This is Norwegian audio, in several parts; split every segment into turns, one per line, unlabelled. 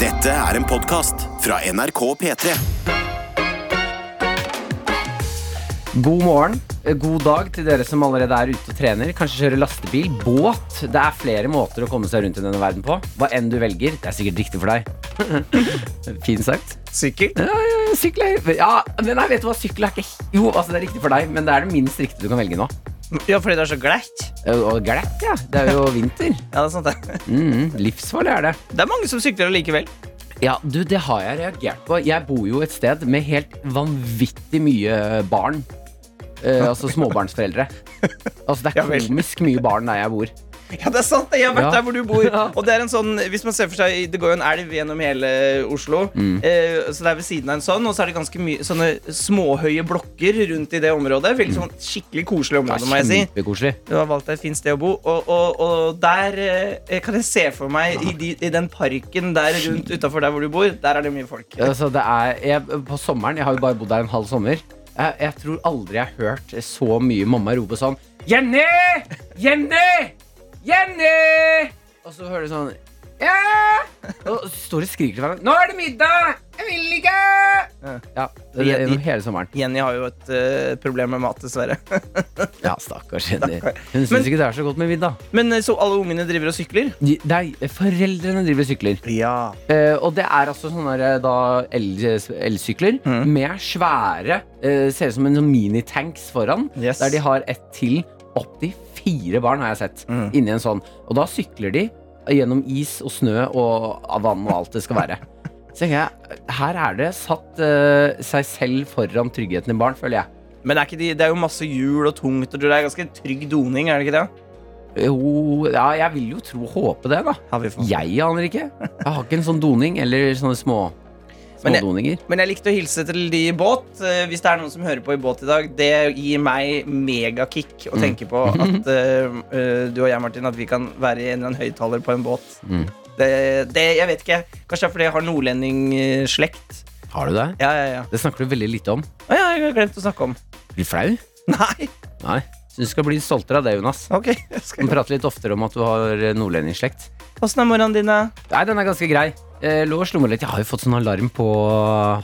Dette er en podkast fra NRK P3.
God morgen, eh, god dag til dere som allerede er ute og trener. Kanskje kjører lastebil, båt. Det er flere måter å komme seg rundt i denne verden på. Hva enn du velger. Det er sikkert riktig for deg. Fint sagt.
Sikkert.
Ja, ja, ja, sykkel er Ja, men nei, vet du hva, sykkel er ikke Jo, altså, det er riktig for deg, men det er det minst riktige du kan velge nå. Eh,
Ja, fordi det er så glatt.
Og glatt, ja. Det er jo vinter.
Ja, Det er sant det.
Mhm, livsfarlig er det.
Det er mange som sykler allikevel.
Ja, du, det har jeg reagert på. Jeg bor jo et sted med helt vanvittig mye barn. Eh, altså småbarnsforeldre. Altså Det
Ja
er
vel.
komisk mye barn der jeg bor.
Ja, det er sant det. Jeg har vært
Ja.
der hvor du bor.
Ja.
Og det er en sånn, hvis man ser for seg, det går jo en elv gjennom hele Oslo.
Mm.
Eh, så det er ved siden av en sånn, og så er det ganske mye sånne småhøye blokker rundt i det området.
Mm.
Veldig sånn skikkelig koselig
Det
område,
er
må jeg si.
kjempekoselig.
Du har valgt deg et fint sted å bo, og, og, og der eh, kan jeg se for meg i, de, i den parken der rundt utafor der hvor du bor, der er det mye folk.
Altså, det er, jeg, på sommeren, jeg har jo bare bodd der en halv sommer jeg, jeg tror aldri jeg har hørt så mye mamma rope sånn Jenny! Jenny! Jenny! Og så hører du sånn Ja! Og så står de og skriker til hverandre Nå er det middag! Jeg vil ikke! Ja, det, det, gjennom hele sommeren.
Jenny har jo et eh, problem med mat, dessverre.
Ja, stakkars Jenny. Hun syns
Men-
ikke det er så godt med middag.
Men eh, så alle ungene driver og sykler?
De- Nei, foreldrene driver og sykler.
Ja.
Eh, og det er altså sånne der, da, el- elsykler
Mhm.
med svære eh, Ser ut som en sånn minitanks foran,
Yes.
der de har ett til opptil fire barn, har jeg sett.
Mhm.
Inni en sånn. Og da sykler de gjennom is og snø og vann og alt det skal være. Så tenker jeg, Her er det satt eh, seg selv foran tryggheten i barn, føler jeg.
Men er ikke de, det er jo masse hjul og tungt, og det er ganske trygg doning, er det ikke det?
Jo, ja, jeg vil jo tro håpe det, da.
Har vi
Jeg aner ikke. Jeg har ikke en sånn doning eller sånne små
Men jeg-
smådoninger.
Men jeg likte å hilse til de i båt. Eh, Hvis det er noen som hører på i båt i dag, det gir meg megakick å tenke på at eh, eh, du og jeg, Martin, at vi kan være i en eller annen høyttaler på en båt.
Mm.
Det, det, jeg vet ikke. Kanskje det er fordi jeg har nordlendingslekt.
Har du det?
Ja, ja, ja.
Det snakker du veldig lite om.
Å ja, jeg har glemt å snakke om.
Blir du flau?
Nei,
Nei. Syns du skal bli stoltere av det, Jonas.
ok. jeg
Du
skal-
må prate litt oftere om at du har eh, nordlendingsslekt.
Åssen er morgenen din, da?
Nei, den er ganske grei. Eh, lå og slumret litt. Jeg har jo fått sånn alarm på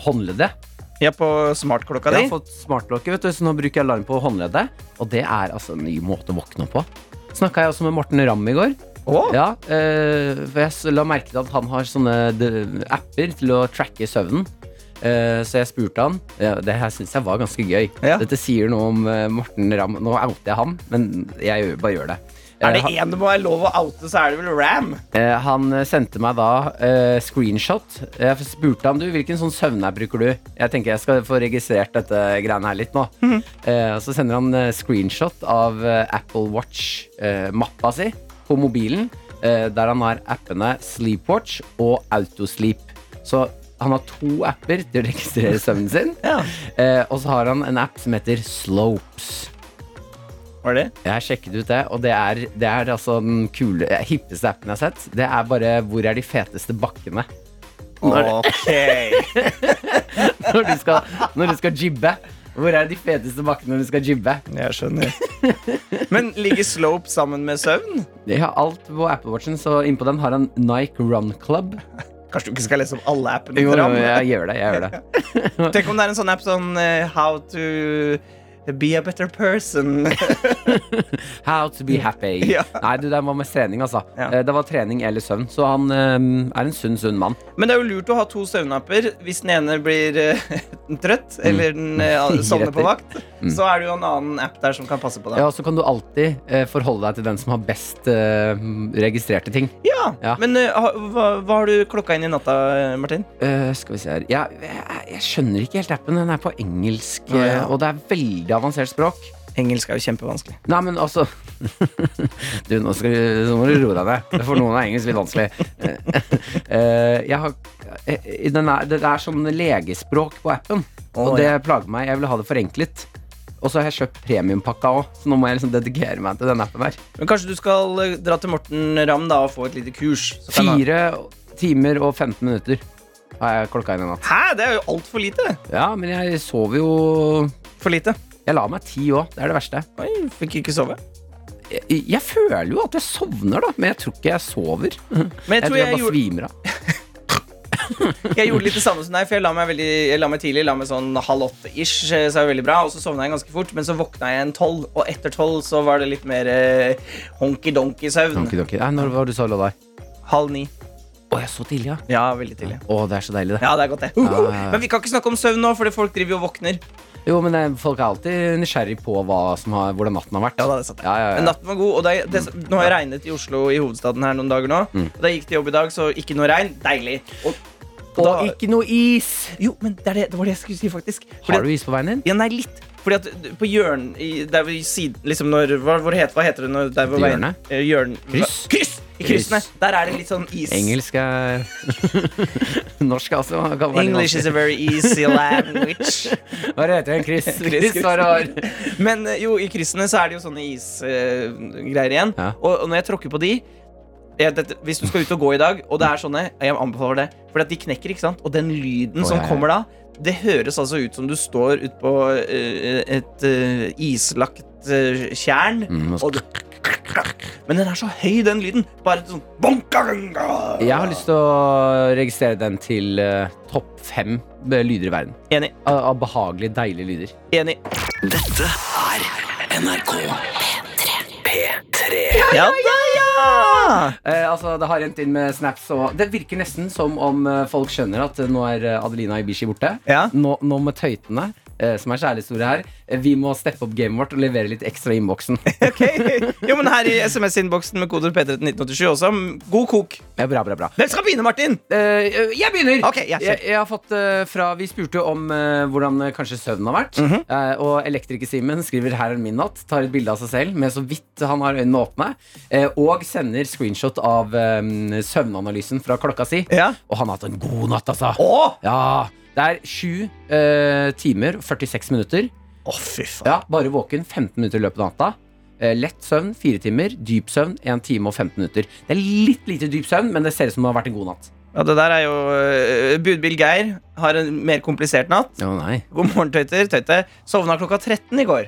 håndleddet.
Ja, på smartklokka
Jeg
di?
har fått smartklokke, vet du, så nå bruker jeg alarm på håndleddet. Og det er altså en ny måte å våkne opp på. Snakka jeg også med Morten Ramm i går.
Å?
Ja, eh, for jeg s- la merke til at han har sånne d- apper til å tracke søvnen. Eh, så jeg spurte han. Ja, det her syns jeg var ganske gøy.
Ja.
Dette sier noe om eh, Morten Ramm. Nå outer jeg han, men jeg gjør, bare gjør det.
Er det
Eh,
én det må være lov å oute, så er det vel Ram.
han, eh, han sendte meg da eh, screenshot. Jeg spurte han du, hvilken sånn søvnapp bruker du. Jeg tenker jeg skal få registrert dette greiene her litt nå. Eh, og så sender han eh, screenshot av eh, Apple Watch-mappa si på mobilen, eh, der han har appene Sleepwatch og Autosleep. Så han har to apper til å registrere søvnen sin.
Ja.
Eh, og så har han en app som heter Slopes.
Var det?
Jeg har sjekket ut det, og det er, det er altså den kule, eh, hippeste appen jeg har sett. Det er bare hvor er de feteste bakkene
Ok.
når du skal, når du skal jibbe. Hvor er de feteste bakkene når du skal jibbe?
Jeg skjønner. Men ligger slope sammen med søvn?
Jeg har alt på Apple Watchen, så innpå den har han Nike Run Club.
Kanskje du ikke skal lese om alle appene?
Jo,
til
jo,
Ram?
jeg gjør det. jeg gjør det
Tenk om det er en sånn app sånn eh, How to be a better person.
How to be happy.
Ja.
Nei, du, det var mest trening, altså.
Ja.
Eh, Det var trening eller søvn, så han eh, er en sunn, sunn mann.
Men det er jo lurt å ha to søvnapper. Hvis den ene blir eh, trøtt,
Mm.
eller den eh, sovner på vakt, så er det jo en annen app der som kan passe på deg.
Ja, og så kan du alltid eh, forholde deg til den som har best eh, registrerte ting.
Ja,
Ja.
Men eh, ha- hva, hva har du klokka inn i natta, eh, Martin?
Eh, skal vi se her ja, jeg, jeg skjønner ikke helt appen. Den er på engelsk,
Å, ja.
eh, og det er veldig avansert språk.
Engelsk er jo kjempevanskelig.
Nei, men altså Du, nå, skal, du- nå må du roe deg ned. For noen er engelsk litt vanskelig. Eh, eh, jeg har, eh, den er, det er sånn legespråk på appen, og
Å,
det plager meg. Jeg vil ha det forenklet. Og så har jeg kjøpt premiumpakka òg, så nå må jeg liksom dedikere meg til den appen her.
Men kanskje du skal eh, dra til Morten Ramm da og få et lite kurs? så kan han-
Fire timer og 15 minutter har jeg klokka inn i natt.
Hæ, det er jo altfor lite!
Ja, men jeg sover jo
For lite.
Jeg la meg ti òg. Det er det verste.
Oi, fikk ikke sove.
jeg, jeg føler jo at jeg sovner, da, men jeg tror ikke jeg sover. Jeg
Men jeg
tror jeg,
tror jeg,
bare
gjorde
svimer av.
Jeg gjorde litt det samme som deg, for jeg la meg, veldig, jeg la meg tidlig. La meg sånn halv åtte-ish, så jeg var veldig bra. Og så sovna jeg ganske fort, men så våkna jeg en tolv, og etter tolv så var det litt mer eh, honky-donky-søvn.
Donkey. Nei, når var det du sa lå der?
Halv ni.
Å, jeg så tidlig, ja.
Ja, veldig tidlig.
Å, det er så deilig, det.
Ja, det er godt, det.
Ja, ja, ja.
Men vi kan ikke snakke om søvn nå, fordi folk driver jo og våkner.
Jo, men eh, folk er alltid nysgjerrig på hva som har, hvordan natten har vært.
Ja, da, det satt jeg.
Ja, ja,
Men
ja.
natten var god, og det, det, nå har jeg regnet i Oslo i hovedstaden her noen dager nå.
Mm.
Og da jeg gikk til jobb i dag, så ikke noe regn. Deilig. Og, og da,
Og ikke noe is!
jo, men det, er det, det var det jeg skulle si, faktisk.
Har du is på veien din?
Ja, nei, litt. Fordi at du- på hjørn i, der hvor siden, liksom når, hva, hvor het, hva heter det når der hvor veien
Hjørnet?
eh, hjørn,
Kryss?
kryss! I kryssene. Der er det litt sånn is.
Engelsk er Norsk, altså. kan være
English is
vanskelig.
a very easy language.
Hva er det heter den? Chris?
Chris,
Chris hva er det har?
Men eh, jo, i kryssene så er det jo sånne isgreier igjen.
Ja.
Og, og når jeg tråkker på de jeg, dette, Hvis du skal ut og gå i dag, og det er sånne Jeg anbefaler det. For at de knekker, ikke sant? Og den lyden
Å,
som
ja, ja.
kommer da, det høres altså ut som du står ut på eh, et eh, islagt eh, tjern.
Mm, og så-
og du, men den er så høy, den lyden. Bare sånn bonkaranga.
Jeg har lyst til å registrere den til eh, topp fem eh, lyder i verden.
Enig.
Av, av behagelige, deilige lyder.
Enig.
Dette er NRK P3.
Ja, ja, ja!
Eh, altså, Det har rent inn med snaps og Det virker nesten som om eh, folk skjønner at eh, nå er eh, Adelina Ibishi borte.
Ja.
Nå, nå med tøytene, eh, som er kjærlighetsstore her, eh, vi må steppe opp gamet vårt og levere litt ekstra i innboksen.
Ok. Jo, men her i SMS-innboksen med koder P3 til 1987 også. God kok.
ja, bra, bra, bra.
Hvem skal begynne, Martin?
Eh, eh, jeg begynner!
Ok, jeg ser.
jeg, jeg har fått eh, fra Vi spurte jo om eh, hvordan eh, kanskje søvnen har vært.
Mhm.
Eh, og Elektriker-Simen skriver 'Her er min natt', tar et bilde av seg selv med så vidt han har øynene åpne, eh, og sender screenshot av eh, søvnanalysen fra klokka si.
Ja.
Og han har hatt en god natt, altså.
Å,
Ja, det er 7 eh, timer og 46 minutter.
Å, fy faen.
Ja, bare våken 15 minutter i løpet av natta. Eh, lett søvn 4 timer, dyp søvn 1 time og 15 minutter. Det er litt lite dyp søvn, men det ser ut som det har vært en god natt.
Ja, det der er jo øh, Budbil Geir har en mer komplisert natt.
Å nei.
God morgen, tøyter. Tøyte. Sovna klokka 13 i går.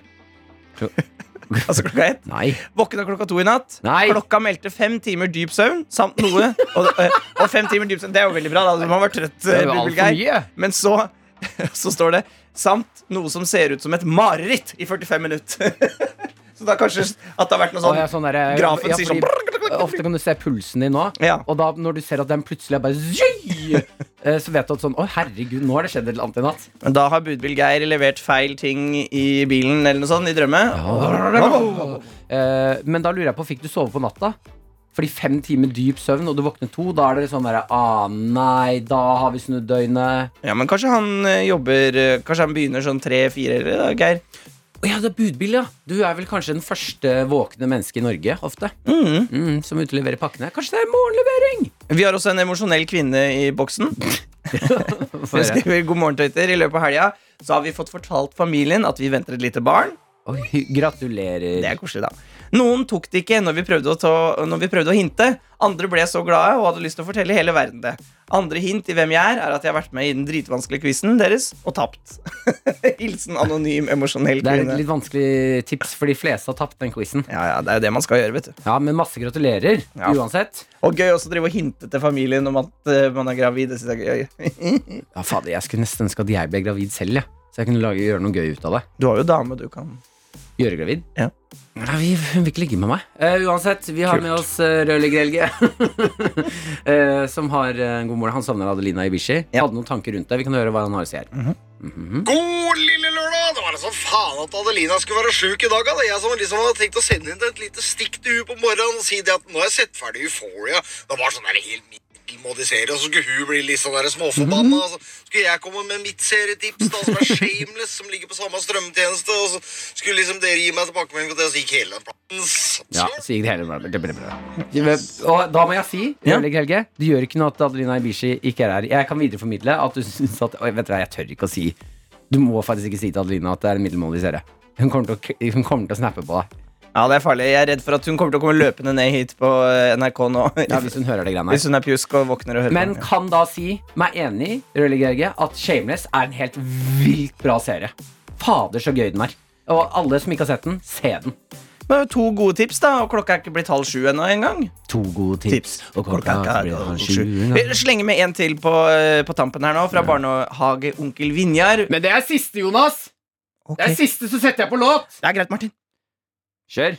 Klo-
altså klokka ett.
Nei.
Våkna klokka to i natt.
Nei.
Klokka meldte fem timer dyp søvn samt noe. Og, øh, og fem timer dyp søvn, det er jo veldig bra. da Du må ha vært trøtt,
Det
øh,
er jo
Budbil
altfor
Geir.
mye.
Men så, så står det samt noe som ser ut som et mareritt i 45 minutter. så da kanskje at det har vært noe
Å,
sånn
ja, sånn der, eh,
Grafen
ja,
sier
fordi
sånn-
Ofte kan du se pulsen din nå,
Ja.
og da når du ser at den plutselig er bare Zøy! Eh, Så vet du at sånn Å, herregud, nå har det skjedd et eller annet i natt.
Men Da har budbil Geir levert feil ting i bilen eller noe sånt, i drømme.
Eh, Men da lurer jeg på, fikk du sove på natta? Fordi fem timer dyp søvn, og du våkner to, da er det sånn derre ah, nei, da har vi snudd døgnet.
Ja, men kanskje han eh, jobber eh, Kanskje han begynner sånn tre-fire, eller da, Geir?
Å ja, det er budbil, ja. Du er vel kanskje den første våkne mennesket i Norge, ofte. Mm, som uteleverer pakkene. Kanskje det er morgenlevering?
Vi har også en emosjonell kvinne i boksen. Hun
Høre.
skriver god morgen, tøyter. I løpet av helga så har vi fått fortalt familien at vi venter et lite barn.
Oi, gratulerer.
Det er koselig, da. Noen tok det ikke når vi, prøvde å ta, når vi prøvde å hinte. Andre ble så glade og hadde lyst til å fortelle hele verden det. Andre hint i hvem jeg er, er at jeg har vært med i den dritvanskelige quizen deres og tapt. Hilsen anonym emosjonell
Det er et
kvinne.
litt vanskelig tips, for de fleste har tapt den quizen.
Ja, ja, det er jo det man skal gjøre, vet du.
Ja, men masse gratulerer
Ja.
uansett.
Og gøy også å drive og hinte til familien om at eh, man er gravid. Det synes jeg er gøy.
Ja, fader, jeg skulle nesten ønske at jeg ble gravid selv, jeg. Så jeg kunne lage, gjøre noe gøy ut av det.
Du har jo dame, du kan.
Gjøre gravid?
Ja.
Nei, vi, hun vil ikke ligge med meg. Eh, uansett, vi har med oss uh, Rødlegger-Helge. eh, som har eh, en god morgen. Han savner Adelina Ibishi.
Ja.
Hadde noen tanker rundt det. Vi kan høre hva han har å si her.
God lille lørdag! Det var liksom faen at Adelina skulle være sjuk i dag. da. Jeg som liksom hadde tenkt å sende henne et lite stikk til hun på morgenen og si det at nå har jeg sett ferdig Euphoria. Det var sånn der helt middelmådig serie, og så skulle hun bli litt sånn der småforbanna. og Så skulle jeg komme med mitt serietips, da, som er Shameless, som ligger på samme strømmetjeneste, og så skulle liksom dere gi meg tilbakemelding på det, og så gikk hele den platen.
Ja, så gikk det hele bra. bra, bra, bra. Og da må jeg si,
Ja.
Rødlegger-Helge, det gjør ikke noe at Adelina Ibishi ikke er her. Jeg kan videreformidle at du syns at Oi, vet du hva, jeg tør ikke å si Du må faktisk ikke si til Adelina at det er en middelmådig serie. Hun kommer, til å, hun kommer til å snappe på deg
Ja, det er farlig. Jeg er redd for at hun kommer til å komme løpende ned hit på eh, NRK nå.
ja, hvis hun hører det greiene her.
Hvis hun er pjusk og våkner og hører
Men
på.
kan da si meg enig Rødlegger-Helge at Shameless er en helt vilt bra serie. Fader, så gøy den er. Og alle som ikke har sett den, se den.
Men det er jo to gode tips, da, og klokka er ikke blitt halv sju ennå engang.
To gode tips. Og klokka
er
blir halv
halv
sju.
sju. Vi slenger med en til på, eh, på tampen her nå, fra barnehageonkel Vinjar.
Men det er siste, Jonas!
Ok,
Det er siste, så setter jeg på låt!
Det er greit, Martin.
Kjør.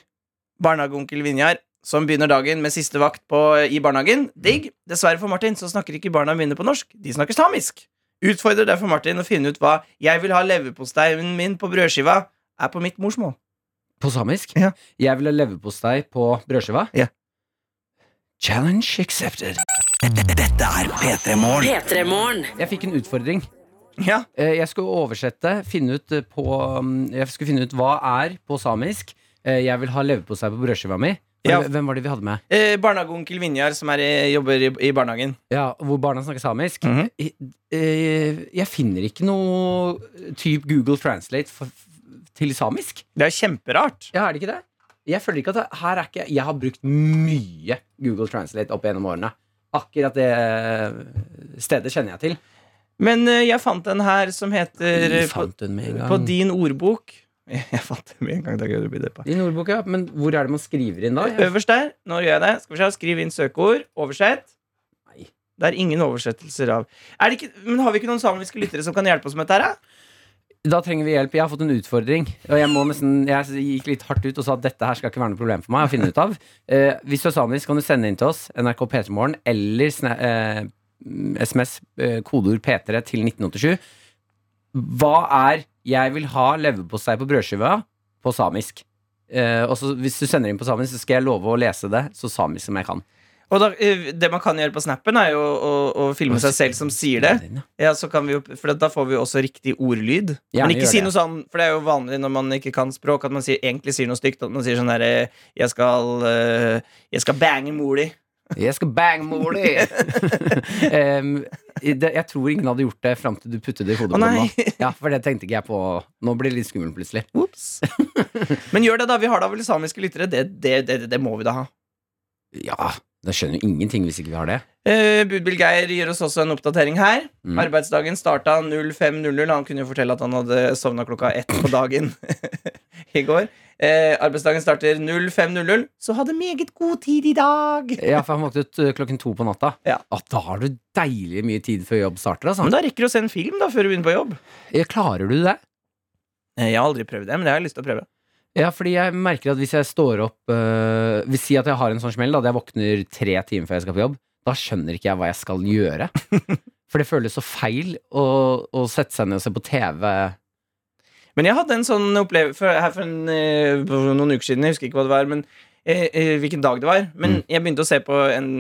Barnehageonkel Vinjar, som begynner dagen med siste vakt på, eh, i barnehagen. Digg. Dessverre for Martin så snakker ikke barna mine på norsk. De snakker samisk. Utfordrer derfor Martin å finne ut hva 'jeg vil ha leverposteien min på brødskiva' er på mitt morsmål.
På samisk?
Ja.
Jeg vil ha leverpostei på brødskiva?
Ja.
Challenge accepted.
Dette er P3 Morgen.
P3-morgen.
Jeg fikk en utfordring.
Ja,
Eh, Jeg skulle oversette, finne ut eh, på mm, Jeg skulle finne ut hva er på samisk. Eh, Jeg vil ha leverpostei på brødskiva mi. Var
Ja.
det- Hvem var det vi hadde med?
eh, Barnehageonkel Vinjar, som er, i- jobber i, i barnehagen.
Ja, Hvor barna snakker samisk.
Mhm.
I- eh, Jeg finner ikke noe type Google translate for, til samisk.
Det er kjemperart.
Ja, er det ikke det? Jeg føler ikke at det, her er ikke Jeg har brukt mye Google translate opp gjennom årene. Akkurat det eh, stedet kjenner jeg til.
Men eh, jeg fant en her som heter eh,
Vi
på,
fant den med en gang.
på din ordbok. Jeg fant den med en gang. Da gøy å bli det på.
I ordboka, men hvor er det man skriver inn da?
Øverst der. Nå gjør jeg det. Skal vi se, Skriv inn søkeord. Oversett.
Nei.
Det er ingen oversettelser av er det ikke, Men har vi ikke noen samiske lyttere som kan hjelpe oss med dette? her? da?
Da trenger vi hjelp. Jeg har fått en utfordring. Og jeg, må nesten, jeg gikk litt hardt ut og sa at dette her skal ikke være noe problem for meg å finne ut av. Eh, hvis du er samisk, kan du sende inn til oss NRK P3morgen eller sna- eh, SMS eh, kodeord P3 til 1987. Hva er 'jeg vil ha leverpostei på brødskiva' på samisk? Eh, og så Hvis du sender inn på samisk, så skal jeg love å lese det så samisk som jeg kan.
Og da, eh, Det man kan gjøre på snappen, er jo å, å, å filme seg selv som sier det. Ja, så kan vi jo, For da får vi jo også riktig ordlyd.
Gjerne
men
gjør
ikke si
det.
noe sånn, for det er jo vanlig når man ikke kan språk, at man sier, egentlig sier noe stygt. At man sier sånn herre jeg, skal, eh, 'Jeg skal bange mor di'.
Jeg skal bang mor di! Em, i det- jeg tror ingen hadde gjort det fram til du puttet det i hodet på
Å, nei.
meg. Ja, for det tenkte ikke jeg på. Nå blir det litt skummelt plutselig.
Ops. Men gjør det, da. Vi har da vel samiske lyttere. Det, det, det, det, det må vi da ha.
Ja, da skjønner jo ingenting hvis ikke vi har det.
Eh, Budbil Geir gir oss også en oppdatering her.
Mm.
Arbeidsdagen starta 05.00. Han kunne jo fortelle at han hadde sovna klokka ett på dagen i går. Eh, arbeidsdagen starter 05.00, så ha det meget god tid i dag.
Ja, for han våknet eh, klokken to på natta. Ah,
Ja.
da har du deilig mye tid før jobb starter, altså.
Men da rekker du å se en film da før du begynner på jobb.
Ja, Klarer du det?
Eh, Jeg har aldri prøvd det, men det har jeg lyst til å prøve.
Ja, fordi jeg merker at hvis jeg står opp øh, Hvis si at jeg har en sånn smell, da, at jeg våkner tre timer før jeg skal på jobb, da skjønner ikke jeg hva jeg skal gjøre. For det føles så feil å, å sette seg ned og se på TV.
Men jeg hadde en sånn opplevelse for, her for, en, eh, for noen uker siden. Jeg husker ikke hva det var, men eh, eh, hvilken dag det var. Men jeg begynte å se på en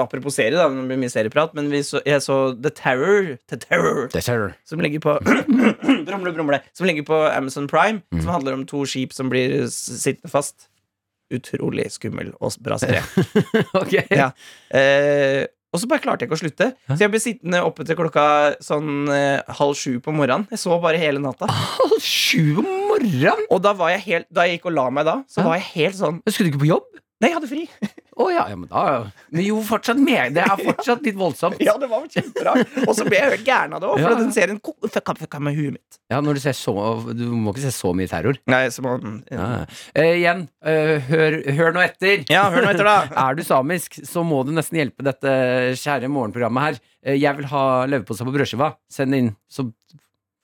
Apropos serie, da. Det blir mye serieprat. Men vi så, jeg så The Terror. The Terror som ligger på brumle, brumle, Som ligger på Amazon Prime. Som handler om to skip som blir s- sittende fast. Utrolig skummel og s- bra serie.
ok.
Ja. Eh, og så bare klarte jeg ikke å slutte. Så jeg ble sittende oppe til klokka sånn eh, halv sju på morgenen. Jeg så bare hele natta.
Halv sju om morgenen?
Og da var jeg helt Da jeg gikk og la meg da, så
Ja.
var jeg helt sånn
Men Skulle du ikke på jobb?
Nei, jeg hadde fri.
Å ja, ja, men da Men jo, fortsatt med. Det er fortsatt litt voldsomt.
Ja, det var vel kjemperart. Og så ble jeg helt gæren av det òg, for
Ja, ja.
den serien ko- fucka fucka med huet mitt.
Ja, når du ser så Du må ikke se så mye terror.
Nei, så man,
Ja.
ja.
Eh, igjen, eh, hør, hør nå etter.
hør nå etter, da.
Er du samisk, så må du nesten hjelpe dette kjære morgenprogrammet her. Eh, Jeg vil ha leverpostei på brødskiva. Send det inn, så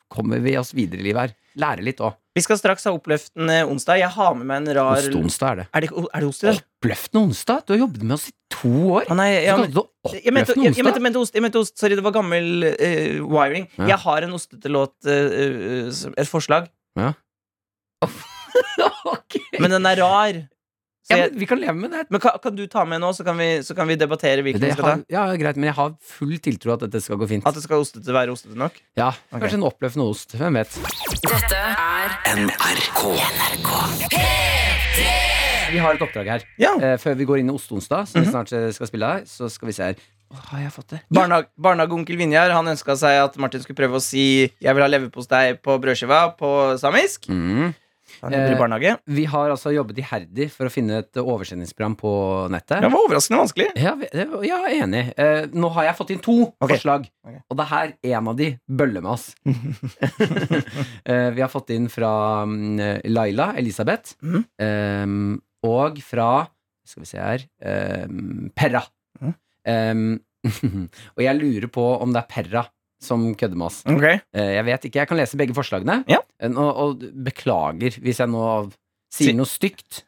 kommer vi oss videre i livet her. Lære litt òg.
Vi skal straks ha oppløftende onsdag. Jeg har med meg en rar
Osteonsdag er det.
Er det, er det ost i dag?
Oppløftende onsdag? Du har jobbet med oss i to år.
Å, nei,
Så
ja,
kalte
men,
du det
jeg mente,
oppløftende
jeg, jeg, mente,
onsdag?
mente ost, jeg mente ost. Sorry, det var gammel eh, wiring.
Ja.
Jeg har en ostete låt eh, eh, som- Et forslag.
Ok.
Men den er rar. Så
Ja,
jeg,
men vi kan leve med det.
men kan, kan du ta med nå, så kan vi, så kan vi debattere hvilken vi
det
skal ta?
har, ja, greit, men jeg har full tiltro at dette skal gå fint.
At det skal ostete være ostete nok?
Ja,
Ok.
Kanskje en oppløftende ost. Hvem vet.
Dette er
NRK.
Vi har et oppdrag her.
Ja.
Eh, før vi går inn i Osteonsdag, som vi snart eh, skal spille av, så skal vi se her. Å, har jeg fått det?
Barnehag- Barnehageonkel Vinjar Han ønska seg at Martin skulle prøve å si 'Jeg vil ha leverpostei på brødskiva' på samisk.
Mm.
Han jobber i barnehage.
Vi har altså jobbet iherdig for å finne et oversendingsprogram på nettet.
Det var overraskende vanskelig.
Ja, vi- det- ja, jeg er enig. Eh, nå har jeg fått inn to
Ok.
forslag,
Ok.
og det er her en av de bøller med oss. Eh, vi har fått inn fra mm, Laila Elisabeth,
Mhm.
eh, og fra Skal vi se her eh, Perra.
Mhm.
Eh, og jeg lurer på om det er Perra som kødder med oss.
Ok,
Eh, jeg vet ikke, jeg kan lese begge forslagene.
Ja.
Eh, nå- og beklager hvis jeg nå sier
Si-
noe stygt,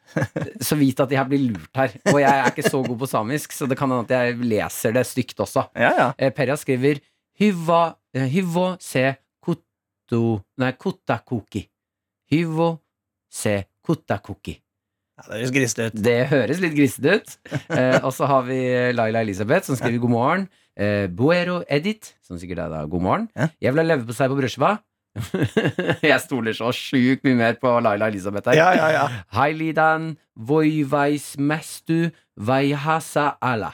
så vit at jeg blir lurt her. Og jeg er ikke så god på samisk, så det kan hende at jeg leser det stygt også.
ja, ja.
Eh, Perja skriver Hyva, eh, hyvo se kutto Nei, kuttakuki. Hyvo se kuttakuki.
ja det høres grisete ut.
Det høres litt grisete ut. Eh, og så har vi Laila Elisabeth, som skriver god morgen. Eh, Buero Edith, som sikkert er da god morgen.
Ja.
Jeg vil ha leverpostei på brødskiva. jeg stoler så sjukt mye mer på Laila Elisabeth her.
Ja, ja, ja.
Hei, Lidan. Voi vais mestu veihasa ala.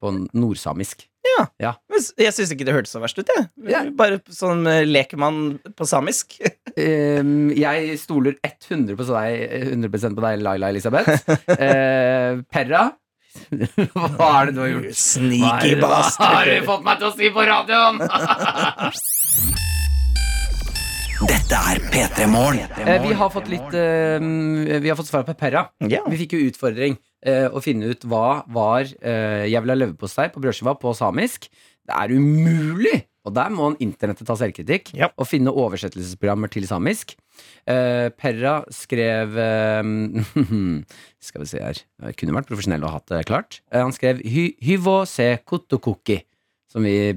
På nordsamisk.
Men s- Jeg syns ikke det hørtes så verst ut, jeg.
Ja.
Bare sånn eh, lekemann på samisk.
Ehm, jeg stoler 100 på deg, 100 på deg Laila Elisabeth. Eh, Perra, hva er det du har gjort? Hva er
Sneaky
det- Hva har du
bastard.
fått meg til å si på radioen?
Dette er P3 Morgen.
Eh, vi har fått litt eh, Vi har fått svar på Perra.
Ja.
Vi fikk jo utfordring eh, å finne ut hva var eh, 'jeg vil ha leverpostei på brødskiva' på samisk. Det er umulig! Og der må internettet ta selvkritikk
Ja.
og finne oversettelsesprogrammer til samisk. Eh, Perra skrev eh, Skal vi se her Jeg Kunne vært profesjonell og hatt det klart. Eh, han skrev hy 'hyvo se kotokuki'. Som vi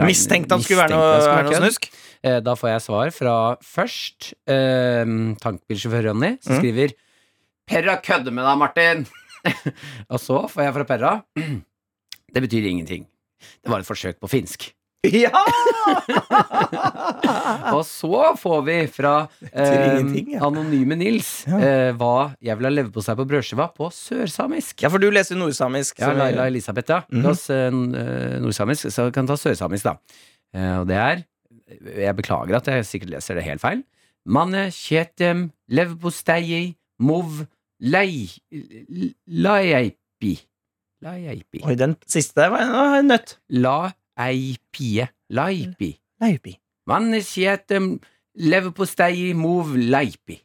Mistenkte han skulle
Mistenkte
være
han
noe,
skulle
være noe
kødd.
snusk.
Eh, Da får jeg svar fra først eh, tankbilsjåfør Ronny, som
Mm.
skriver Perra kødder med deg, Martin! og så får jeg fra Perra Det betyr ingenting. Det var et forsøk på finsk.
Ja! Ah,
Og så får vi fra eh,
ingenting, ja.
Anonyme Nils
Ja.
eh, hva 'Jeg vil ha leverpostei på brødskiva' på sørsamisk.
ja, for du leser nordsamisk.
Ja,
så-
Laila Elisabeth, ja.
Mhm.
La oss eh, n- eh, nordsamisk, så kan vi ta sørsamisk, da. Eh, og det er Jeg beklager at jeg sikkert leser det helt feil. Manne, kjetem, levpostei, mov, lei... l- Laeipi. Laeipi.
Oi, den siste der var en- var en nøtt.
Laeipie. Laipi.
Leipi.
Manne, kjetem, leverpostei, mov, leipi.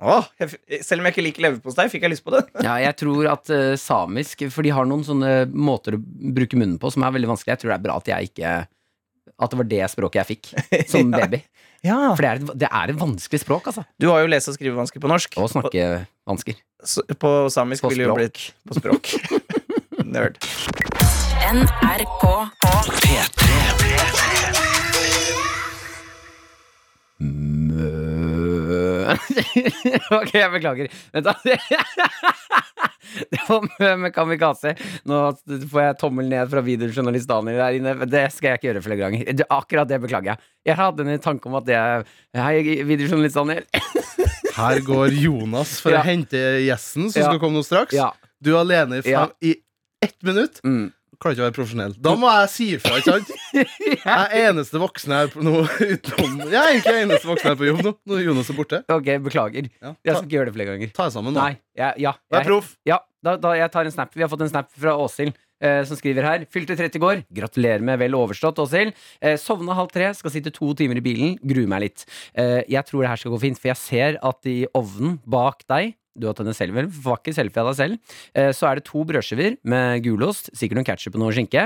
Åh, jeg f- selv om jeg ikke liker leverpostei, fikk jeg lyst på det.
Ja, jeg tror at eh, samisk For de har noen sånne måter å bruke munnen på som er veldig vanskelig. Jeg tror det er bra at jeg ikke At det var det språket jeg fikk som
Ja.
baby.
Ja.
For det er, et, det er et vanskelig språk, altså.
Du har jo lese- og skrivevansker på norsk.
Å snakke vansker.
S- På samisk
På
ville jo
språk.
blitt på språk. Nerd.
NRK
P3
Mø Ok, jeg beklager. Vent, da. Det var mø med kamikaze. Nå får jeg tommel ned fra videojournalist Daniel der inne. men Det skal jeg ikke gjøre flere ganger. Det- Akkurat det beklager jeg. Jeg hadde en tanke om at det Hei, videojournalist Daniel.
Her går Jonas for
Ja.
å hente gjesten som
Ja.
skal komme nå straks.
Ja.
Du er alene i, fem,
Ja.
i ett minutt.
Mm.
Klarer ikke å være profesjonell. Da må jeg si ifra, ikke sant? Jeg er eneste voksne her på nå utenom Jeg er egentlig eneste voksne her på jobb nå, når Jonas er borte.
Ok, beklager.
Ja.
Jeg
Ta,
skal ikke gjøre det flere ganger.
ta deg sammen, nå.
Nei, jeg, ja,
Vær
jeg,
proff.
ja da, da, jeg tar en snap. Vi har fått en snap fra Åshild. eh, som skriver her Fylte 30 i går. Gratulerer med vel overstått, Åshild. Eh, sovna halv tre, skal sitte to timer i bilen. Gruer meg litt. Eh, jeg tror det her skal gå fint, for jeg ser at i ovnen bak deg du har tatt en selfie, vel? Var ikke selfie av deg selv. Eh, så er det to brødskiver med gulost, sikkert noen ketsjup og noe skinke,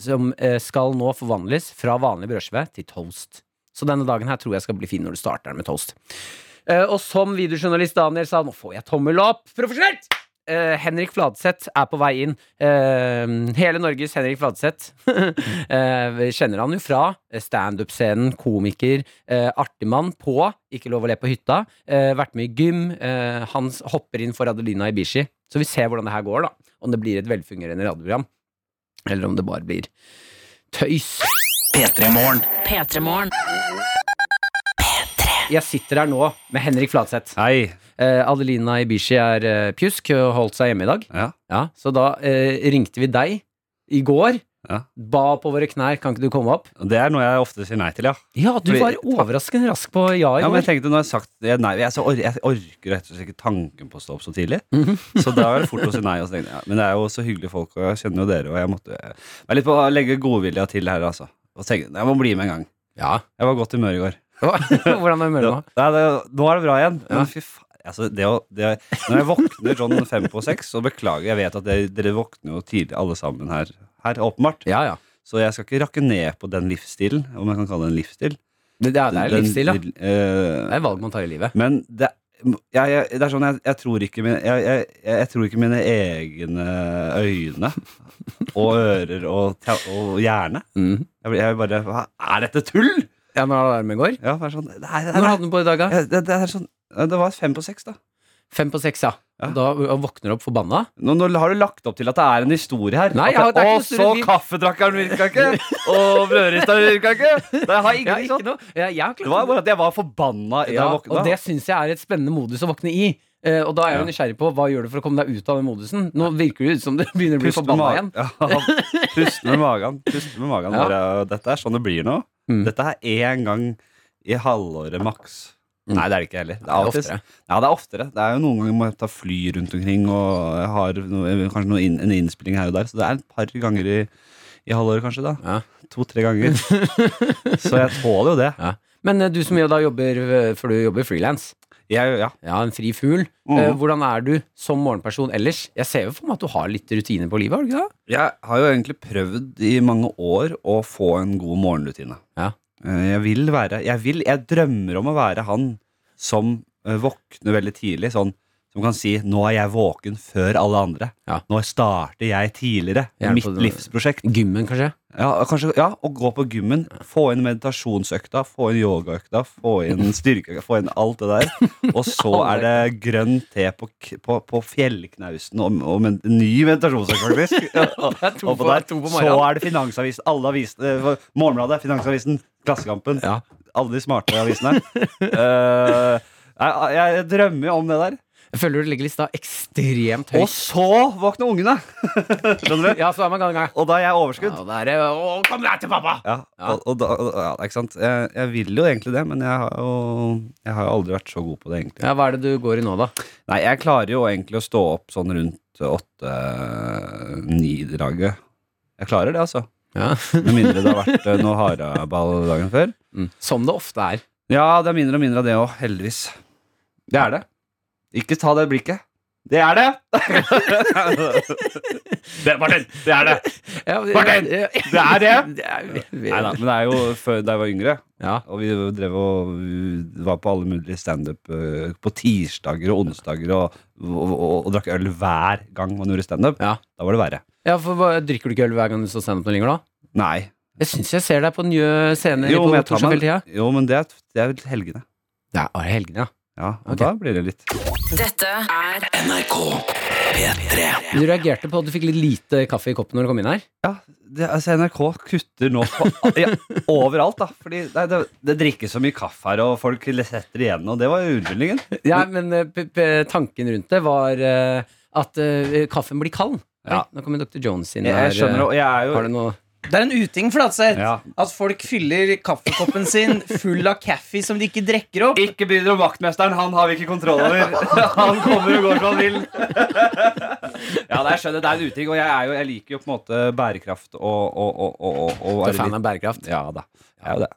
som eh, skal nå forvandles fra vanlig brødskive til toast. Så denne dagen her tror jeg skal bli fin når du starter den med toast. Eh, Og som videojournalist Daniel sa, nå får jeg tommel opp! Profesjonelt! Eh, Henrik Fladseth er på vei inn. Eh, hele Norges Henrik Fladseth. Eh, vi kjenner han jo fra standup-scenen, komiker, eh, artig mann på Ikke lov å le på hytta. Eh, vært med i gym. Eh, han s- hopper inn for Adelina Ibishi. Så vi ser hvordan det her går, da. Om det blir et velfungerende radioprogram. Eller om det bare blir tøys.
P3 Morgen.
P3 Morgen.
Jeg sitter her nå med Henrik Fladseth.
Hei.
Eh, Adelina Ibishi er eh, pjusk og holdt seg hjemme i dag.
Ja.
Så da eh, ringte vi deg i går
Ja.
Ba på våre knær, kan ikke du komme opp?
Og Det er noe jeg ofte sier nei til, ja.
Ja, du
Fordi-
var overraskende rask på ja i
Ja,
går.
men jeg tenkte når jeg har sagt jeg, nei, jeg, så or jeg orker rett og slett ikke tanken på å stå opp så tidlig.
Mhm.
Så da er det fort å si nei. Og så tenkte jeg, ja, men det er jo så hyggelige folk, og jeg kjenner jo dere. Og jeg måtte jeg er litt på å legge godvilja til her, altså. Og tenke, jeg må bli med en gang.
Ja.
Jeg var i godt humør i går.
Hvordan er humøret nå?
Nei, det, nå er det bra igjen. Men fy faen. Altså, det å, det, når jeg våkner sånn fem på seks, så beklager jeg vet at dere, dere våkner jo tidlig alle sammen her, her åpenbart.
Ja, ja.
Så jeg skal ikke rakke ned på den livsstilen, om jeg kan kalle det en livsstil.
Det, det er, det er
Den-
livsstil, ja.
den, eh,
Det er valg man tar i livet.
men det, jeg, jeg, det er sånn jeg, jeg, tror ikke mine, jeg, jeg, jeg tror ikke mine egne øyne og ører og, te- og hjerne.
Mm.
Jeg, blir- jeg bare Hva er dette tull?!
Ja, når alarmen går.
Ja, det er sånn Nei, nei,
Når
nei.
hadde den på i dag, da?
Jeg- Det, det, er sånn, det var fem på seks, da.
Fem på seks, ja.
Ja.
Og da og våkner opp forbanna.
Nå, nå har du lagt opp til at det er en historie her.
Nei, ja,
At
det er ikke
og
noe
så
historie. Vi-
kaffedrakkeren virka ikke! Og brødrista virka ikke! Det, har
Ja,
ingenting
ikke
sånn.
noe. Ja, jeg har
det
klart
var bare at jeg var forbanna da
ja,
jeg våkna.
Og det syns jeg er et spennende modus å våkne i. Eh, og da er jeg jo
Ja.
nysgjerrig på hva gjør du for å komme deg ut av den modusen. Nå virker det ut som du begynner å bli
Puste med,
forbanna igjen.
magen. ja, puste med magen. Puste med magen
Ja.
bare, Dette er sånn det blir nå.
Mm.
Dette er én gang i halvåret maks.
Mm.
Nei, det er det ikke heller. Det er,
Det er
oftere. Ja, det er oftere. Det er jo noen ganger må jeg ta fly rundt omkring, og jeg har noe, kanskje noe inn, en innspilling her og der. Så det er et par ganger i, i halvåret, kanskje. da
Ja.
To-tre ganger. så jeg tåler jo det.
Men eh, du som jo da jobber eh, For du jobber frilans.
Jeg, ja.
Ja, en fri fugl.
Mhm.
Eh, hvordan er du som morgenperson ellers? Jeg ser jo for meg at du har litt rutine på livet, har du ikke det?
Jeg har jo egentlig prøvd i mange år å få en god morgenrutine.
Ja.
Eh, Jeg vil være Jeg, vil, jeg drømmer om å være han som eh, våkner veldig tidlig, sånn som kan si 'nå er jeg våken før alle andre'.
Ja.
'Nå starter jeg tidligere'.
Gjerne
mitt
på det-
livsprosjekt.
Gymmen, kanskje?
Ja, kanskje, ja, Å gå på gymmen, få inn meditasjonsøkta, få inn yogaøkta, få inn styrkeøkta, få inn alt det der. Og
Oh
så er det grønn te på, k- på, på fjellknausen og, og med en ny meditasjonsøkt, faktisk. Ja.
Det er to
Oppå der. Så er det Finansavisen, alle avisene, eh, Morgenbladet, Finansavisen, Klassekampen.
Ja.
Alle de smarte avisene. Eh, jeg, jeg drømmer jo om det der.
Jeg føler du ligger litt da ekstremt
Og
høyt.
så våkner ungene! Skjønner du?
Ja, så er man gang, gang.
Og da er jeg overskudd.
Ja, det er, eh, å, kom deg til pappa!
Ja, og, og da, og- ja, ikke sant? Jeg, jeg vil jo egentlig det, men jeg har jo, jeg har jo aldri vært så god på det, egentlig.
Ja, Hva er det du går i nå, da?
Nei, jeg klarer jo egentlig å stå opp sånn rundt åtte-ni-draget. Jeg klarer det, altså.
Ja.
Med mindre det har vært eh, noe haraball dagen før.
Som det ofte er.
Ja, det er mindre og mindre av det òg, heldigvis. Det er det. Ikke ta det blikket. Det er det! det, Martin, det er det.
Ja,
Martin,
ja, ja.
Det er det.
Det er-
Neida, men det er jo før da jeg var yngre,
Ja.
og vi drev og vi var på alle mulige standup eh, på tirsdager og onsdager og, og, og, og drakk øl hver gang man gjorde standup.
Ja.
Da var det verre.
ja, for hva, Drikker du ikke øl hver gang du står standup nå lenger, da?
Nei.
Jeg syns jeg ser deg på nye scener
Jo,
på
men, jeg tar meg,
Torshov hele tida.
jo, men det, er, det er vel helgene.
Ja, er det helgene, ja.
Ja, og
Ok.
da blir det litt
Dette er
NRK P3
Du reagerte på at du fikk litt lite kaffe i koppen når du kom inn her.
Ja, det, altså NRK kutter nå på ja, overalt, da. Fordi nei, det, det drikkes så mye kaffe her, og folk setter igjen, og det var jo unnskyldningen.
Ja, men eh, p p tanken rundt det var eh, at eh, kaffen blir kald.
Ja.
Oi, nå kommer Dr. Jones inn
Jeg,
her.
jeg skjønner, og jeg er
eh, Har du
jo
noe
Det er en uting, Flatseth.
ja.
At folk fyller kaffekoppen sin full av kaffe som de ikke drikker opp.
Ikke bry dere om vaktmesteren, han har vi ikke kontroll over. Han kommer og går som han vil. Ja, det, jeg skjønner, det er en uting, og jeg, er jo, jeg liker jo på en måte bærekraft og, og, og, og, og, og
Du er fan av bærekraft?
Ja da. Jeg er jo det.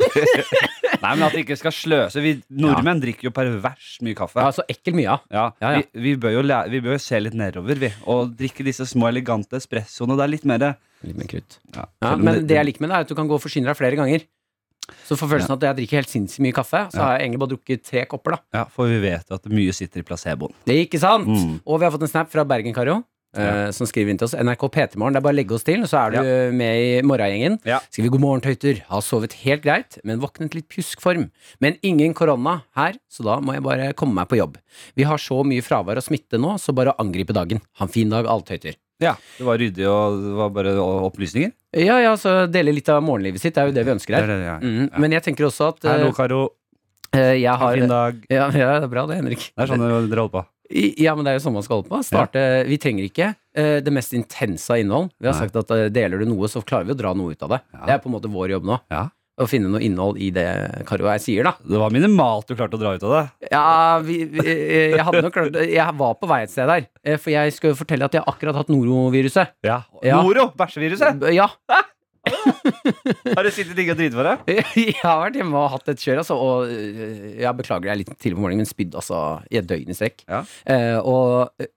Nei, men at vi ikke skal sløse. Vi nordmenn drikker jo perverst mye kaffe.
Ja, så ekkelt mye av.
Ja,
Ja, ja.
Vi, vi, bør jo læ- vi bør jo se litt nedover, vi. Og drikke disse små, elegante espressoene. Det er litt mer
Litt mer krutt.
ja,
Ja,
selv om
men det jeg liker med det, er at du kan gå og forsyne deg flere ganger. Så får følelsen at jeg drikker helt sinnssykt mye kaffe, så har jeg egentlig bare drukket tre kopper, da.
ja, For vi vet jo at mye sitter i placeboen.
Det er ikke sant?
Mm.
Og vi har fått en snap fra Bergen Karo. eh, som skriver inn til oss NRK P3morgen. Det er bare å legge oss til, så er du eh, med i morgengjengen.
Ja.
Skriver 'God morgen, tøyter'. Har sovet helt greit, men våknet litt pjusk form. Men ingen korona her, så da må jeg bare komme meg på jobb. Vi har så mye fravær og smitte nå, så bare å angripe dagen. Ha en fin dag, alle tøyter.
Ja, Det var ryddig, og det var bare opplysninger.
Ja, ja, så dele litt av morgenlivet sitt. Det er jo det vi ønsker
Det
her.
er det, ja.
Mm, men jeg tenker også at eh,
Hallo, Karo.
Eh, Jeg
Ha
har
en fin dag.
ja, ja, det er bra det, Henrik.
Det er sånn dere holder på.
I- Ja, men det er jo sånn man skal holde på. Starte, Vi trenger ikke eh, det mest intense av innhold. Vi har
Nei.
sagt at eh, deler du noe, så klarer vi å dra noe ut av det.
Ja.
Det er på en måte vår jobb nå.
Ja.
Å finne noe innhold i det Karo og jeg sier, da.
Det var minimalt du klarte å dra ut av det.
Ja, vi, vi, eh, jeg hadde nok klart Jeg var på vei et sted der. eh, For jeg skal jo fortelle at jeg har akkurat hatt noroviruset.
Ja.
Ja.
Noro, bæsjeviruset.
Ja.
Har du sittet digg og driti for deg?
Jeg har vært hjemme og hatt et kjør, altså. Og eh, jeg beklager, jeg er litt tidlig på morgenen, men spydd altså i et døgn i strekk.
Ja.
Eh, og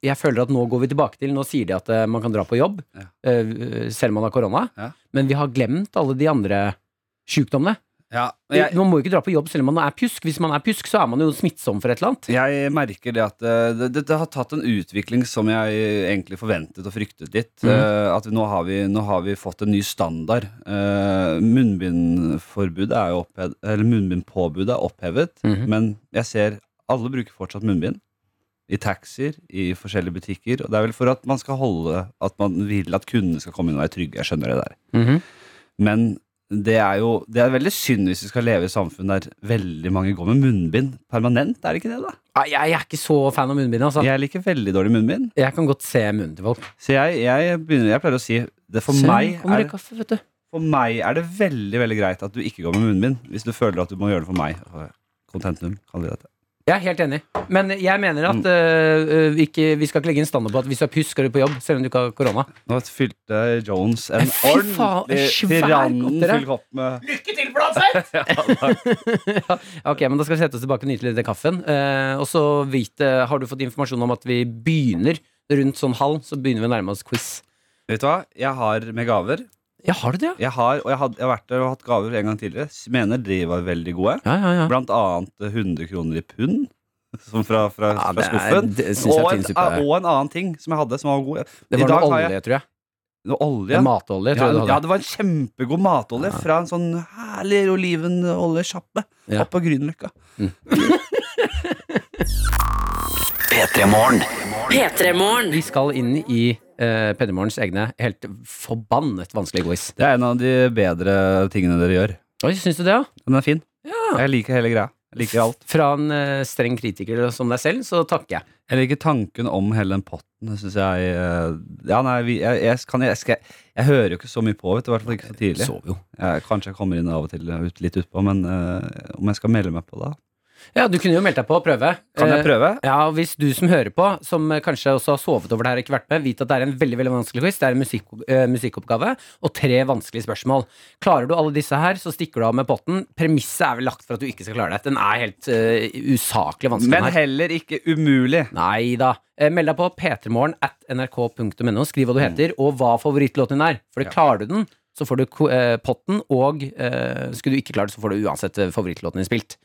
jeg føler at nå går vi tilbake til Nå sier de at eh, man kan dra på jobb,
Ja.
eh, selv om man har korona.
Ja.
Men vi har glemt alle de andre sjukdommene.
Ja. Jeg,
Man må jo ikke dra på jobb selv om man er pjusk. Hvis man er pjusk, så er man jo smittsom for et eller annet.
jeg merker det at eh, det, det, det har tatt en utvikling som jeg egentlig forventet og fryktet litt.
Mhm.
Eh, At nå har, vi, nå har vi fått en ny standard. Eh, Munnbindforbudet er jo opphevet, eller munnbindpåbudet er opphevet,
Mhm.
men jeg ser alle bruker fortsatt munnbind. I taxier, i forskjellige butikker. Og det er vel for at man skal holde At man vil at kundene skal komme inn og være trygge. Jeg skjønner det der.
Mhm.
Men det er jo Det er veldig synd hvis vi skal leve i et samfunn der veldig mange går med munnbind permanent. Er det ikke det, da?
Nei, Ah, Jeg, jeg er ikke så fan av munnbind, altså.
Jeg liker veldig dårlig munnbind.
Jeg kan godt se munnen til folk.
Så jeg, jeg, begynner, jeg pleier å si det for,
Søren,
meg
kommer det
er,
kaffe, vet du.
for meg er det veldig veldig greit at du ikke går med munnbind hvis du føler at du må gjøre det for meg. Contentum kaller vi dette.
Jeg er helt enig. Men jeg mener at øh, øh, vi ikke, vi skal ikke legge en standard på at hvis du er pjusk, skal du på jobb, selv om du ikke har korona.
Nå fylte Jones en
Fy faen,
ordentlig
svær
tyrannen
godtere.
fylt opp med
Lykke til, Bladseth!
Ok, men Da skal vi sette oss tilbake og nyte litt av kaffen. Eh, og så vit, eh, har du fått informasjon om at vi begynner rundt sånn halv, så begynner vi å nærme oss quiz.
Vet du hva? Jeg har med gaver.
Ja, har du det,
Jeg har, og jeg, hadde, jeg har vært der og hatt gaver en gang tidligere. Mener de var veldig gode.
ja? Ja, ja, ja.
Blant annet 100 kroner i pund Som fra, fra,
Ja,
fra
det er-
skuffen
det synes jeg er
og, en,
tynn suppe.
og en annen ting som jeg hadde som var god
Det
I
var noe
dag har
olje, tror jeg.
jeg noe olje
Det er matolje, tror
ja,
jeg du
ja,
hadde.
det var en kjempegod matolje Fra en sånn herlig olivenoljesjappe
Ja.
Opp på Grünerløkka
P3 Morgen.
P3-morgen.
Vi skal inn i uh, Pedermorens egne helt forbannet vanskelige quiz.
Det er en av de bedre tingene dere gjør
Oi, syns du det, ja?
Den er fin Jeg liker hele greia Jeg liker alt
Fra en eh, streng kritiker som deg selv, så takker jeg.
Jeg liker tanken om hele den potten Det synes jeg eh, Ja, nei, vi, jeg, jeg, kan, jeg, skal, jeg hører jo ikke så mye på, vet du I hvert fall ikke så tidlig
Sov jo.
Jeg, kanskje jeg kommer inn av og til eh, ut, litt utpå, men eh, om jeg skal melde meg på da?
Ja, du kunne jo meldt deg på og prøve.
Kan
Eh,
jeg prøve?
Ja, og hvis du som hører på, som eh, kanskje også har sovet over det her og ikke vært med, vit at det er en veldig veldig vanskelig quiz. Det er en musikk, eh, musikkoppgave og tre vanskelige spørsmål. Klarer du alle disse her, så stikker du av med potten. Premisset er vel lagt for at du ikke skal klare det. Den er helt eh, usaklig vanskelig. den
Men
her.
heller ikke umulig.
Nei da. Eh, Meld deg på p3morgen at nrk.no. Skriv hva du heter, og hva favorittlåten din er. For klarer du den, så får du ko- eh, potten, og eh, skulle du ikke klare det, så får du uansett eh, favorittlåten din spilt.